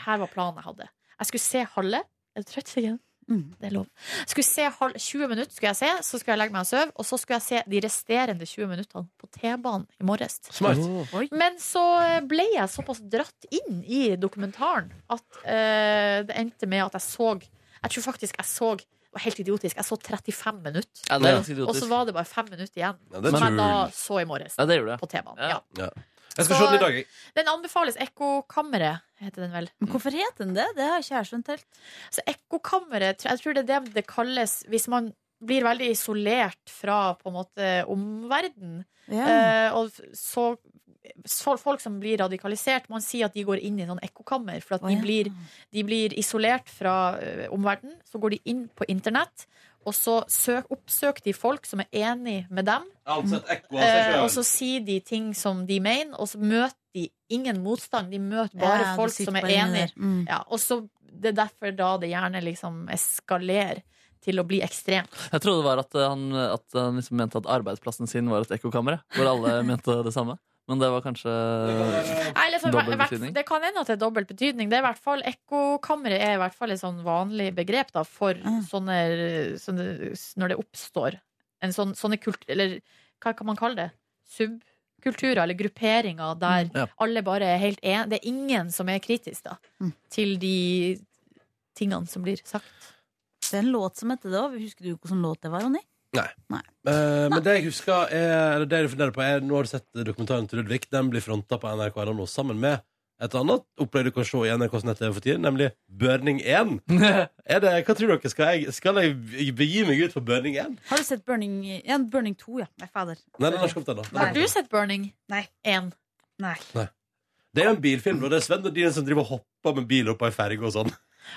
her var planen jeg hadde. Jeg skulle se halve. Er du trøtt, Siggen? Det er lov. Jeg Skulle se halv, 20 minutter, skulle jeg se, så skulle jeg legge meg og sove. Og så skulle jeg se de resterende 20 minuttene på T-banen i morges. Smart. Men så eh, ble jeg såpass dratt inn i dokumentaren at eh, det endte med at jeg så Jeg tror faktisk jeg så det var helt idiotisk. Jeg så 35 minutter. Ja, det er ganske idiotisk. og så var det bare 5 minutter igjen. Ja, det er som jeg tull. da så i morges. Ja, det gjorde jeg. På T-banen. Ja. Ja. Jeg skal se den i dag, jeg. Den anbefales. Ekkokammeret heter den vel. Men hvorfor het den det? Det har ikke jeg skjønt helt. Så ekkokammeret, tr- jeg tror det er det det kalles hvis man blir veldig isolert fra på en måte omverdenen. Ja. Eh, og f- så, så folk som blir radikalisert, man sier at de går inn i sånn ekkokammer. For at Å, de, ja. blir, de blir isolert fra eh, omverdenen. Så går de inn på internett, og så søk, oppsøker de folk som er enig med dem. altså, Eh, og så sier de ting som de mener, og så møter de ingen motstand. De møter bare Ja, de folk sitter som er bare inne enige. der. Mm. Ja, og så Det er derfor da det gjerne liksom eskalerer til å bli ekstremt. Jeg trodde det var at eh, han, at han liksom mente at arbeidsplassen sin var et ekkokammer. Hvor alle (laughs) mente det samme. Men det var kanskje (laughs) Nei, liksom, dobbel hvert- betydning. Det kan hende at det er dobbelt betydning. Det er i hvert fall Ekkokammeret er i hvert fall et sånn vanlig begrep da, for sånne, sånne Når det oppstår en sånn, sånne kult... Eller hva kan man kalle det? Subkulturer eller grupperinger der Mm. Ja. alle bare er helt enige. Det er ingen som er kritisk da, til de tingene som blir sagt. Det er en låt som heter det òg. Husker du hvilken låt det var, Ronny? Nei. Eh, men det jeg husker er, eller det jeg funderer på er Nå har du sett dokumentaren til Ludvig. Den blir fronta på NRK nå sammen med et annet opplegg du kan se i NRKs nett-TV for tiden, nemlig Børning 1. er det, hva tror dere? Skal jeg, skal jeg begi meg ut på Børning 1? Har du sett Burning, ja, Burning 2? Ja. Nei, fader. Nei, den har ikke kommet ennå. Den har Har ikke du kommet. sett Burning? Nei. Én. Nei. Det er jo en bilfilm, og det er Sven Nordin som driver og hopper med bil opp på ei ferge og sånn.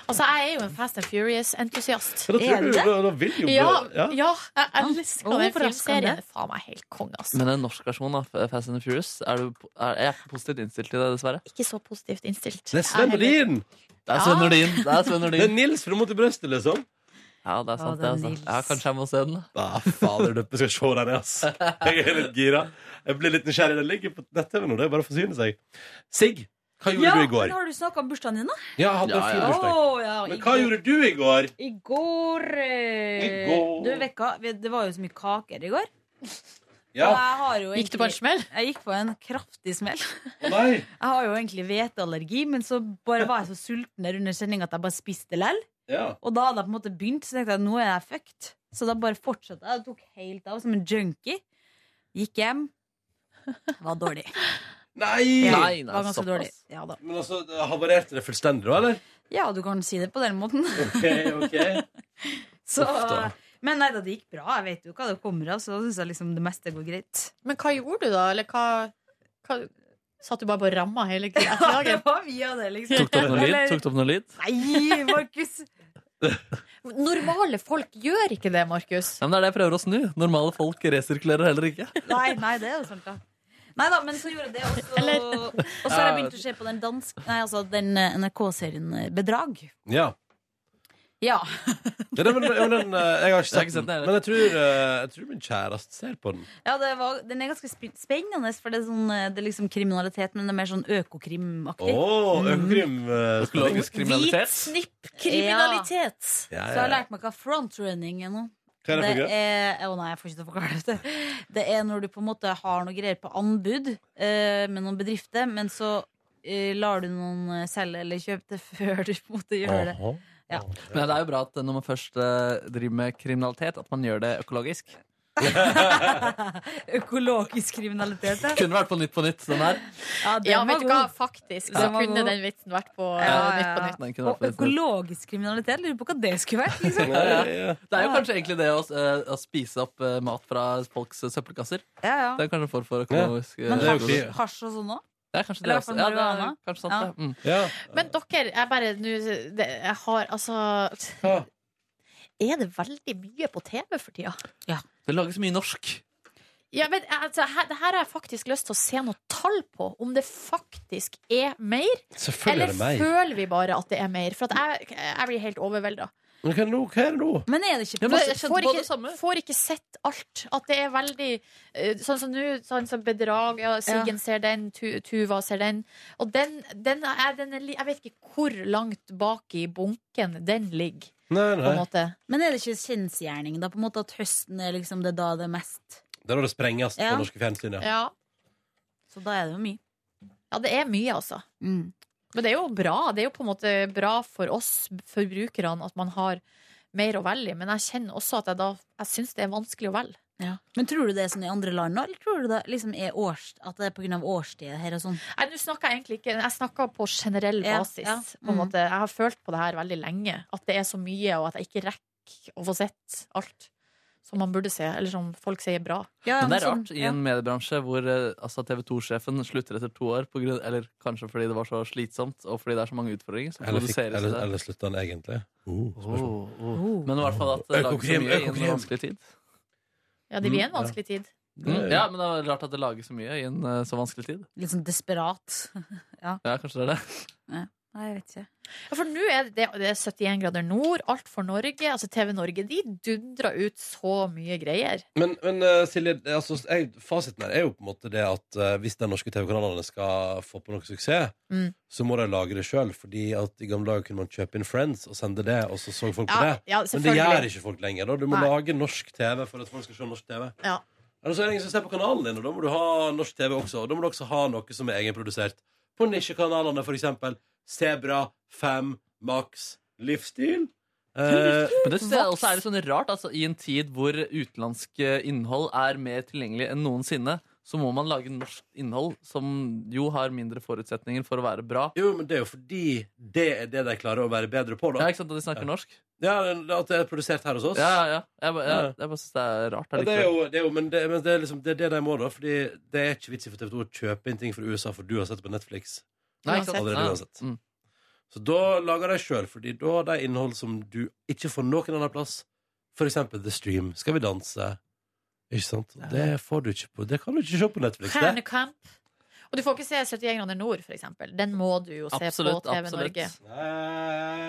Altså, jeg er jo en Fast and Furious-entusiast. Men da tror du, da, da vil jo Ja, ja. ja. jeg elsker den Overraskende. filmserien. Faen meg helt konge, altså. Men en norsk versjon av Fast and the Furious er, du, er, er jeg ikke positivt innstilt til det, dessverre. Ikke så positivt innstilt. Det er Sven Jeg heller- Nordin! Det er Sven Nordin. Det er Sven (laughs) Nordin. Det er Nils fra Mot i brøstet, liksom. Ja, det er sant, det. Altså. Ja, kanskje jeg må se den. da. Ja, fader, du skal se den, ass. Jeg er litt gira. Jeg blir litt nysgjerrig. Den ligger på nett-TV nå. Det er bare å forsyne seg. Sigg, hva gjorde Ja, du i går? men har du snakka om bursdagen din, da? Ja, jeg hadde en fin bursdag. Å, ja, i Men hva går- gjorde du i går? I går, eh, I går. Du, vekka, vi- Det var jo så mye kaker i går. Ja. Og jeg har jo Gikk du på en smell? Jeg gikk på en kraftig smell. Å, Nei. Jeg har jo egentlig hveteallergi, men så bare var jeg så sulten der under sendinga at jeg bare spiste lell. Ja. Og da hadde jeg på en måte begynt, så tenkte jeg nå er jeg fucked. Så da bare fortsatte jeg. Jeg tok helt av som en junkie. Gikk hjem. Var dårlig. Nei! Ja, Nei, nei, var ganske såpass. dårlig. Ja da. Men altså, det havarerte det fullstendig da, eller? Ja, du kan si det på den måten. Ok, ok. Så, Uff da. men nei da, det gikk bra. Jeg vet jo hva det kommer av, så da syns jeg liksom det meste går greit. Men hva gjorde du da? Eller hva, hva Satt du bare på ramma hele (laughs) Ja, det dagen? var mye av det, liksom. Tok du opp noe lyd? Eller- Tok du opp noe lyd? Nei, Markus! Normale folk gjør ikke det, Markus. Ja, men det er det jeg prøver å snu. Normale folk resirkulerer heller ikke. (laughs) Nei, nei, det er jo sant, da. Nei da, men så gjorde jeg det også. Og så har jeg begynt å se på den dansk... Nei, altså den NRK-serien eh, Bedrag. Ja. Ja. ja det, men, ja, men, den, eh, jeg har ikke Jeg har ikke sett sett den den, heller. men jeg tror, eh, jeg tror min kjæreste ser på den. ja det var, den er ganske sp- spennende, for det er, sånn, eh, det er liksom kriminalitet, men det er mer sånn økokrimaktig. Mm. Åh, økokrim. eh, spenning. Økologisk kriminalitet. Hvitsnippkriminalitet. Ja, Så jeg ja, har ja. lært meg hva frontrunning er nå. Hva er det for det greier? er, å nei, jeg får ikke til å forklare dette. Det er når du på en måte har noe greier på anbud eh, med noen bedrifter, men så eh, lar du noen eh, selge eller kjøpe (laughs) det før du på en måte gjør det. Ja. Men det er jo bra at når man først eh, driver med kriminalitet, at man gjør det økologisk. Økologisk kriminalitet. ja. Kunne vært på Nytt på Nytt, den her. Ja, den Ja, var vet du god. hva, faktisk så Den var kunne god. den vitsen vært på eh, Ja, ja, Nytt på ja. Nytt. Den kunne vært på Og Nytt på Nytt. økologisk kriminalitet, lurer på hva det skulle vært. Liksom. Ja, ja. Det er jo kanskje egentlig det å, s- eh, å spise opp eh, mat fra folks eh, søppelkasser. Ja, ja. Det er kanskje en form for økologisk eh, Men det er jo hasj, ikke- hasj og sånn òg? Det er kanskje Eller i det hvert fall også. Ja, det er marihuana. kanskje sant, Ja. det. Mm. Men dere, jeg bare nå det- Jeg har altså Er det veldig mye på TV for tida? Det lages mye norsk. Ja, men altså, her, det her har jeg faktisk lyst til å se noe tall på. Om det faktisk er mer. Selvfølgelig er det mer. Eller føler vi bare at det er mer? For at jeg, jeg blir helt overvelda. Men hva er det nå? Hva er det nå? Men er det ikke får, ikke, får ikke sett alt. At det er veldig eh, Sånn som nå, sånn som Bedrag, ja, Siggen ser den, tu, Tuva ser den. Og den, den, er, den er, li- Jeg vet ikke hvor langt bak i bunken den ligger. På en måte. Men er det ikke kjensgjerning, da? På en måte At høsten er liksom det da det er mest Det er da det sprenges Ja. på norske fjernsyn, ja. Så da er det jo mye. Ja, det er mye, altså. Mm. Men det er jo bra. Det er jo på en måte bra for oss forbrukerne at man har mer å velge i. Men jeg kjenner også at jeg da Jeg syns det er vanskelig å velge. Men tror du det er sånn i andre land nå, eller tror du det liksom er års, at det er pga. årstida her og sånn? Nei, nå snakker jeg egentlig ikke Jeg snakker på generell Ja, basis. ja. På en Mm. måte. Jeg har følt på det her veldig lenge. At det er så mye, og at jeg ikke rekker å få sett alt som man burde se, eller som folk sier er bra. men det liksom, er sånn, rart i en mediebransje hvor eh, altså, TV 2-sjefen slutter etter to år, på grunn, eller kanskje fordi det var så slitsomt og fordi det er så mange utfordringer. Så Eller, fikk, produseres eller, det. eller slutta han egentlig? Oh, spørsmål. Oh. Men i hvert fall at det lages så Økokrim, mye i en økokrim. vanskelig tid. Ja, det blir en Mm, ja. vanskelig tid. Mm, ja, men det er rart at det lages så mye i en eh, så vanskelig tid. Litt sånn desperat. ja. Ja, kanskje det er det. ja. Nei, jeg vet ikke. Ja, for nå er det, det er 71 grader nord, alt for Norge. Altså TV Norge de dundrer ut så mye greier. Men, men eh, Silje, det- altså, jeg, fasiten her er jo på en måte det at eh, hvis de norske TV-kanalene skal få på noe suksess, Mm. så må de lage det sjøl. Fordi at i gamle dager kunne man kjøpe inn Friends og sende det, og så så folk på Ja, det. ja, men det selvfølgelig. gjør ikke folk lenger. da Du må Nei. lage norsk TV for at folk skal se norsk TV. Ja. Eller så er det ingen som ser på kanalen din, og da må du ha norsk TV også. Og da må du også ha noe som er egenprodusert. På nisjekanalene, for eksempel. Sebra, Fem, Max, Livsstil. Eh, Men det synes jeg også er litt sånn rart altså, I en tid hvor utenlandsk eh, innhold er mer tilgjengelig enn noensinne, så må man lage norsk innhold som jo har mindre forutsetninger for å være bra. Jo, men det er jo fordi det er det de klarer å være bedre på, da. Ja, ikke sant at de snakker norsk? Ja, det- At det er produsert her hos oss. Ja, ja, ja. Jeg, ba- Ja. jeg, jeg bare synes det er rart. Ja, det er allikevel. jo, det er jo, men det, men det, er liksom, det er det de må, da. Fordi det er ikke vits i for TV2 å kjøpe inn ting fra USA, for du har sett det på Netflix. Nei, ikke sant. Allerede Ja. mm, uansett. Så da lager de sjøl, fordi da har de innhold som du ikke får noen annen plass. For eksempel The Stream. Skal vi danse? Ikke sant? Det får du ikke på Det kan du ikke se på Netflix. Det. Stjernekamp. Og du får ikke se 71 grader nord, for eksempel. Den må du jo se Absolutt, på TV absolutt. Norge.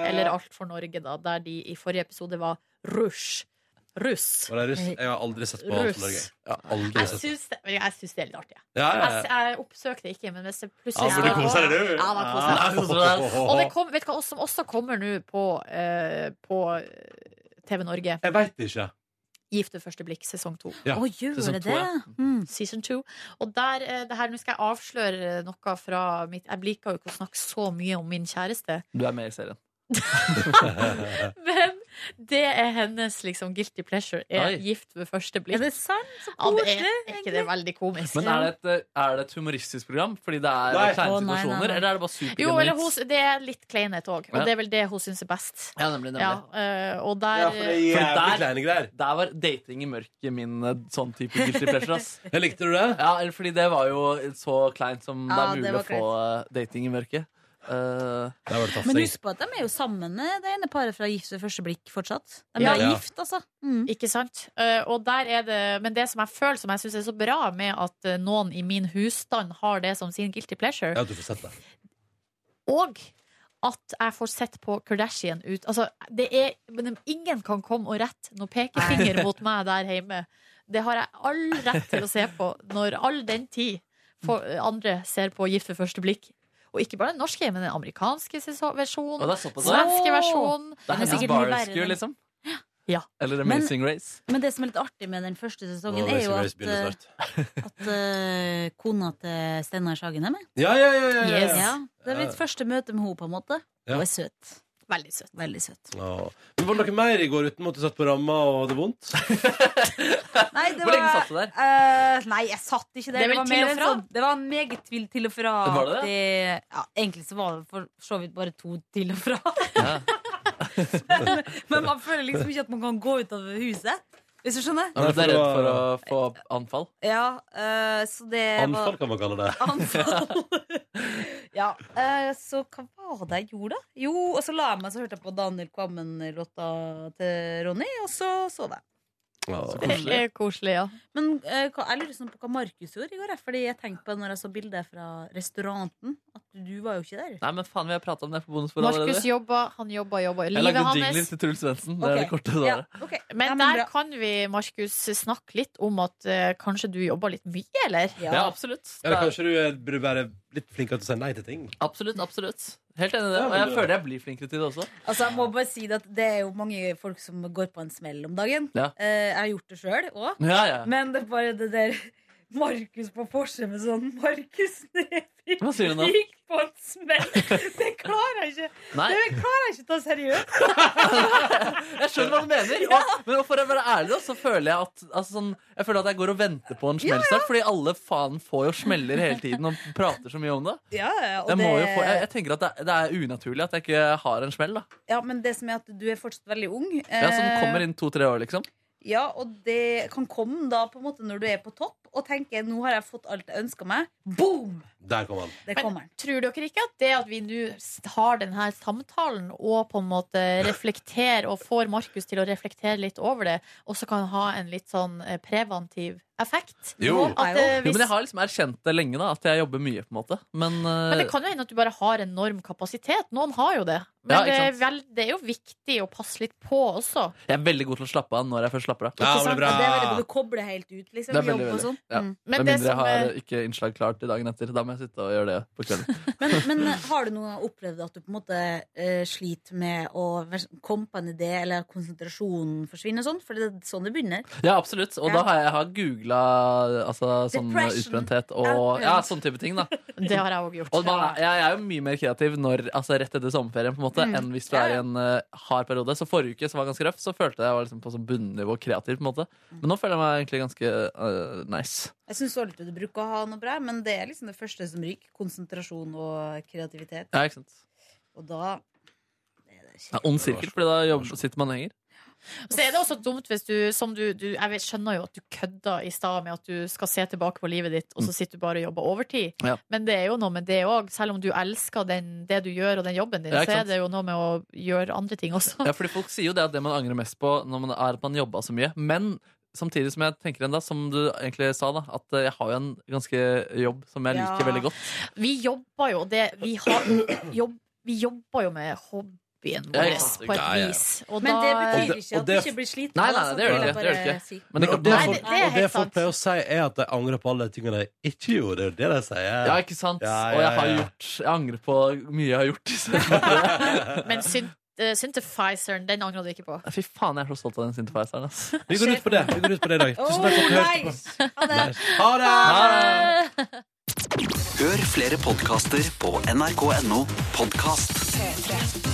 Eller Alt for Norge, da, der de i forrige episode var rush. Russ. Og det er russ. Jeg har aldri sett på Alt Russ. for Norge. Jeg har aldri Jeg sett syns det, jeg syns det er litt artig. jeg. Ja, ja, ja. Jeg, jeg oppsøkte det ikke, men hvis det plutselig Ja, for du koser deg, du. Ja, da koser jeg meg. Ja, koser du deg. Og det kom, vet du hva som også kommer nå på, eh, på eh, TV Norge? Jeg veit ikke. Gift ved første blikk, sesong to. Ja, Å, gjør sesong det to, ja. det? Mm. Season two. Og der, eh, det her, nå skal jeg avsløre noe fra mitt Jeg liker jo ikke å snakke så mye om min kjæreste. Du er med i serien. (laughs) Men det er hennes liksom guilty pleasure. Er Oi. gift ved første blikk. Er det sant? Så Ja, det er, er ikke det veldig komisk? Men er det, et, eh, er det et humoristisk program fordi det er Nei. kleine Å, nei, nei, situasjoner, nei. eller er det bare supergenuint? Jo, eller hun, det er litt kleinhet òg, og Ja. det er vel det hun syns er best. Ja, nemlig, nemlig. Ja, eh, og der Fordi der, der var dating i mørket min eh, sånn type guilty pleasure. Ass. Likte du det? Ja, eller fordi det var jo så kleint som det Ja, er det mulig var å få eh, dating i mørket. Eh, Men husk på at de er jo sammen, eh, det ene paret fra Gift ved første blikk fortsatt. De Ja. er Ja. gift, altså. Mm. Ikke sant? Eh, og der er det, men det som jeg føler som jeg syns er så bra med at eh, noen i min husstand har det som sin guilty pleasure, Ja, du får sett det. og at jeg får sett på Kardashian ut Altså, det er men Ingen kan komme og rette noen pekefinger mot meg der hjemme. Det har jeg all rett til å se på når all den tid for, andre ser på Gift ved første blikk. Og ikke bare den norske, men den amerikanske seso- versjonen. Og det er såpass, ja. Svenske versjonen. Det er hennes Ja. bar rescue, liksom. Ja. Eller Men- Amazing Race. Men det som er litt artig med den første sesongen, Nå, er jo Amazing Race at, begynner eh, at eh, kona til Steinar Sagen er med. Ja, ja, ja, ja, ja. Yes. Ja. Det er mitt første møte med henne, på en måte. Ja. Hun er søt. Veldig søt. Åh. Men var det noe mer i går uten at du satt på ramma og hadde vondt? Nei, det Hvor lenge satt du der? eh, nei, jeg satt ikke Det der. er vel var til mer og en fra? sånn- det var en meget til, til og fra. Var det det? aktig- Ja, egentlig så var det for så vidt bare to til og fra. (laughs) Men man føler liksom ikke at man kan gå ut av huset. Hvis du skjønner? Er du er redd for å få anfall? Ja, eh, så det Anfall var kan man kalle det. (laughs) ja, eh, Så hva var det jeg gjorde, da? Jo, og så la jeg meg, så hørte jeg på Daniel Kvammen-låta til Ronny, og så sov jeg. Så Det er koselig, ja. Men eh, hva- jeg lurer sånn på hva Markus gjorde i går, jeg, fordi jeg tenkte på når jeg så bildet fra restauranten, at du var jo ikke der. Nei, men faen, vi har prata om det på bonusbordet Markus jobba, han jobba, jobba. Jeg lagde Livet jingler hans til Truls Svendsen. Det er det korte Ja. svaret. Men der kan vi, Markus, snakke litt om at eh, kanskje du jobba litt mye, eller? Ja, absolutt. Eller kanskje du er- burde være litt flinkere til å si nei til ting? Absolutt, absolutt. Helt enig i det. Ja, Og jeg men- føler jeg blir flinkere til det også. Altså, jeg må bare si det at det er jo mange folk som går på en smell om dagen. Ja. Eh, jeg har gjort det sjøl òg. Ja, ja. Men det er bare det der Markus på Porsche med sånn Markus Neby Hva sier du nå? gikk på en smell! Det klarer jeg ikke Nei. Det klarer jeg ikke å ta seriøst. Jeg skjønner hva du mener. Og, men for å være ærlig, da, så føler jeg at altså, sånn, Jeg føler at jeg går og venter på en smell snart, fordi alle faen får jo smeller hele tiden og prater så mye om det. Ja, ja, og Jeg, må jo det- få, jeg, jeg tenker at det, det er unaturlig at jeg ikke har en smell. da ja, men det som er at du er fortsatt veldig ung. ja, Som Eh, kommer inn to-tre år, liksom. Ja, og det kan komme da på en måte når du er på topp og tenker nå har jeg fått alt jeg ønsker meg. Boom! Der kom han. Det Men kommer. tror dere ikke at det at vi nå s- har denne samtalen og på en måte reflekterer og får Markus til å reflektere litt over det, også kan ha en litt sånn eh, preventiv effekt? At, eh, jo, hvis, men jeg har liksom erkjent det lenge, da, at jeg jobber mye, på en måte. Men, eh, men det kan jo hende at du bare har enorm kapasitet. Noen har jo det. Men Ja, ikke det, er sant. vel, det er jo viktig å passe litt på også. jeg er veldig god til å slappe av når jeg først slapper av. Ikke sant? Ja, det er veldig, du kobler helt ut, liksom. Det er veldig, jobb og veldig. sånn. Ja. Mm. Med mindre jeg har eh, ikke innslag klart til dagen etter. Da må jeg sitte og gjøre det på kvelden. Men, men eh, har du noen gang opplevd at du på en måte eh, sliter med å vers- komme på en idé, eller at konsentrasjonen forsvinner og sånn? For det er sånn det begynner. Ja, absolutt. Og Ja. da har jeg, jeg har googla altså, sånn Depression. utbrenthet og Outbrent. ja, sånne type ting. da Det har jeg òg gjort. Og man, er- jeg er jo mye mer kreativ når, altså, rett etter sommerferien på en måte Mm. enn hvis du er i en eh, hard periode. Så forrige uke som var ganske røff, så følte jeg jeg var liksom på sånn bunnivå kreativ. på en måte Mm. Men nå føler jeg meg egentlig ganske eh, nice. Jeg syns du bruker å ha noe bra, men det er liksom det første som ryker. Konsentrasjon og kreativitet. Ja, ikke sant? Og da Ja, ond sirkel, fordi da jobber, sitter man lenger. Så er det også dumt hvis du, som du, du Jeg vet, skjønner jo at du kødda i stad med at du skal se tilbake på livet ditt, og så sitter du bare og jobber overtid. Mm. Ja. Men det er jo noe med det òg. Selv om du elsker den, det du gjør og den jobben din, Ja, ikke så er sant? det jo noe med å gjøre andre ting også. Ja, fordi Folk sier jo det at det man angrer mest på, Når man er at man jobba så mye. Men samtidig som jeg tenker enda, som du egentlig sa, da at eh, jeg har jo en ganske jobb som jeg liker Ja. veldig godt. Vi jobber jo det Vi, har, jobb, vi jobber jo med hobbyen Ja, vår ikke sant. på et Ja, ja. vis. Og Men da, det betyr ikke og at du det- ikke blir sliten. Nei, nei, nei, det gjør det vil jeg ikke, det gjør bare det ikke. si. Men det Men, og kan- sånn- det, Nei, folk, det- det er og det helt folk sant. pleier å si, er at de angrer på alle de tingene de ikke gjorde. Det er det de sier. Ja, ikke sant? Ja, Og ja, jeg har ja. gjort Jeg angrer på mye jeg har gjort. Men synt, eh, synthesizeren, den angrer du ikke på. Fy faen, jeg er så stolt av den synthesizeren. ass. Vi går ut på det Vi går ut på det i dag. Tusen takk for at du hørte på. Ha det! Hør flere podkaster på nrk.no podkast. P3.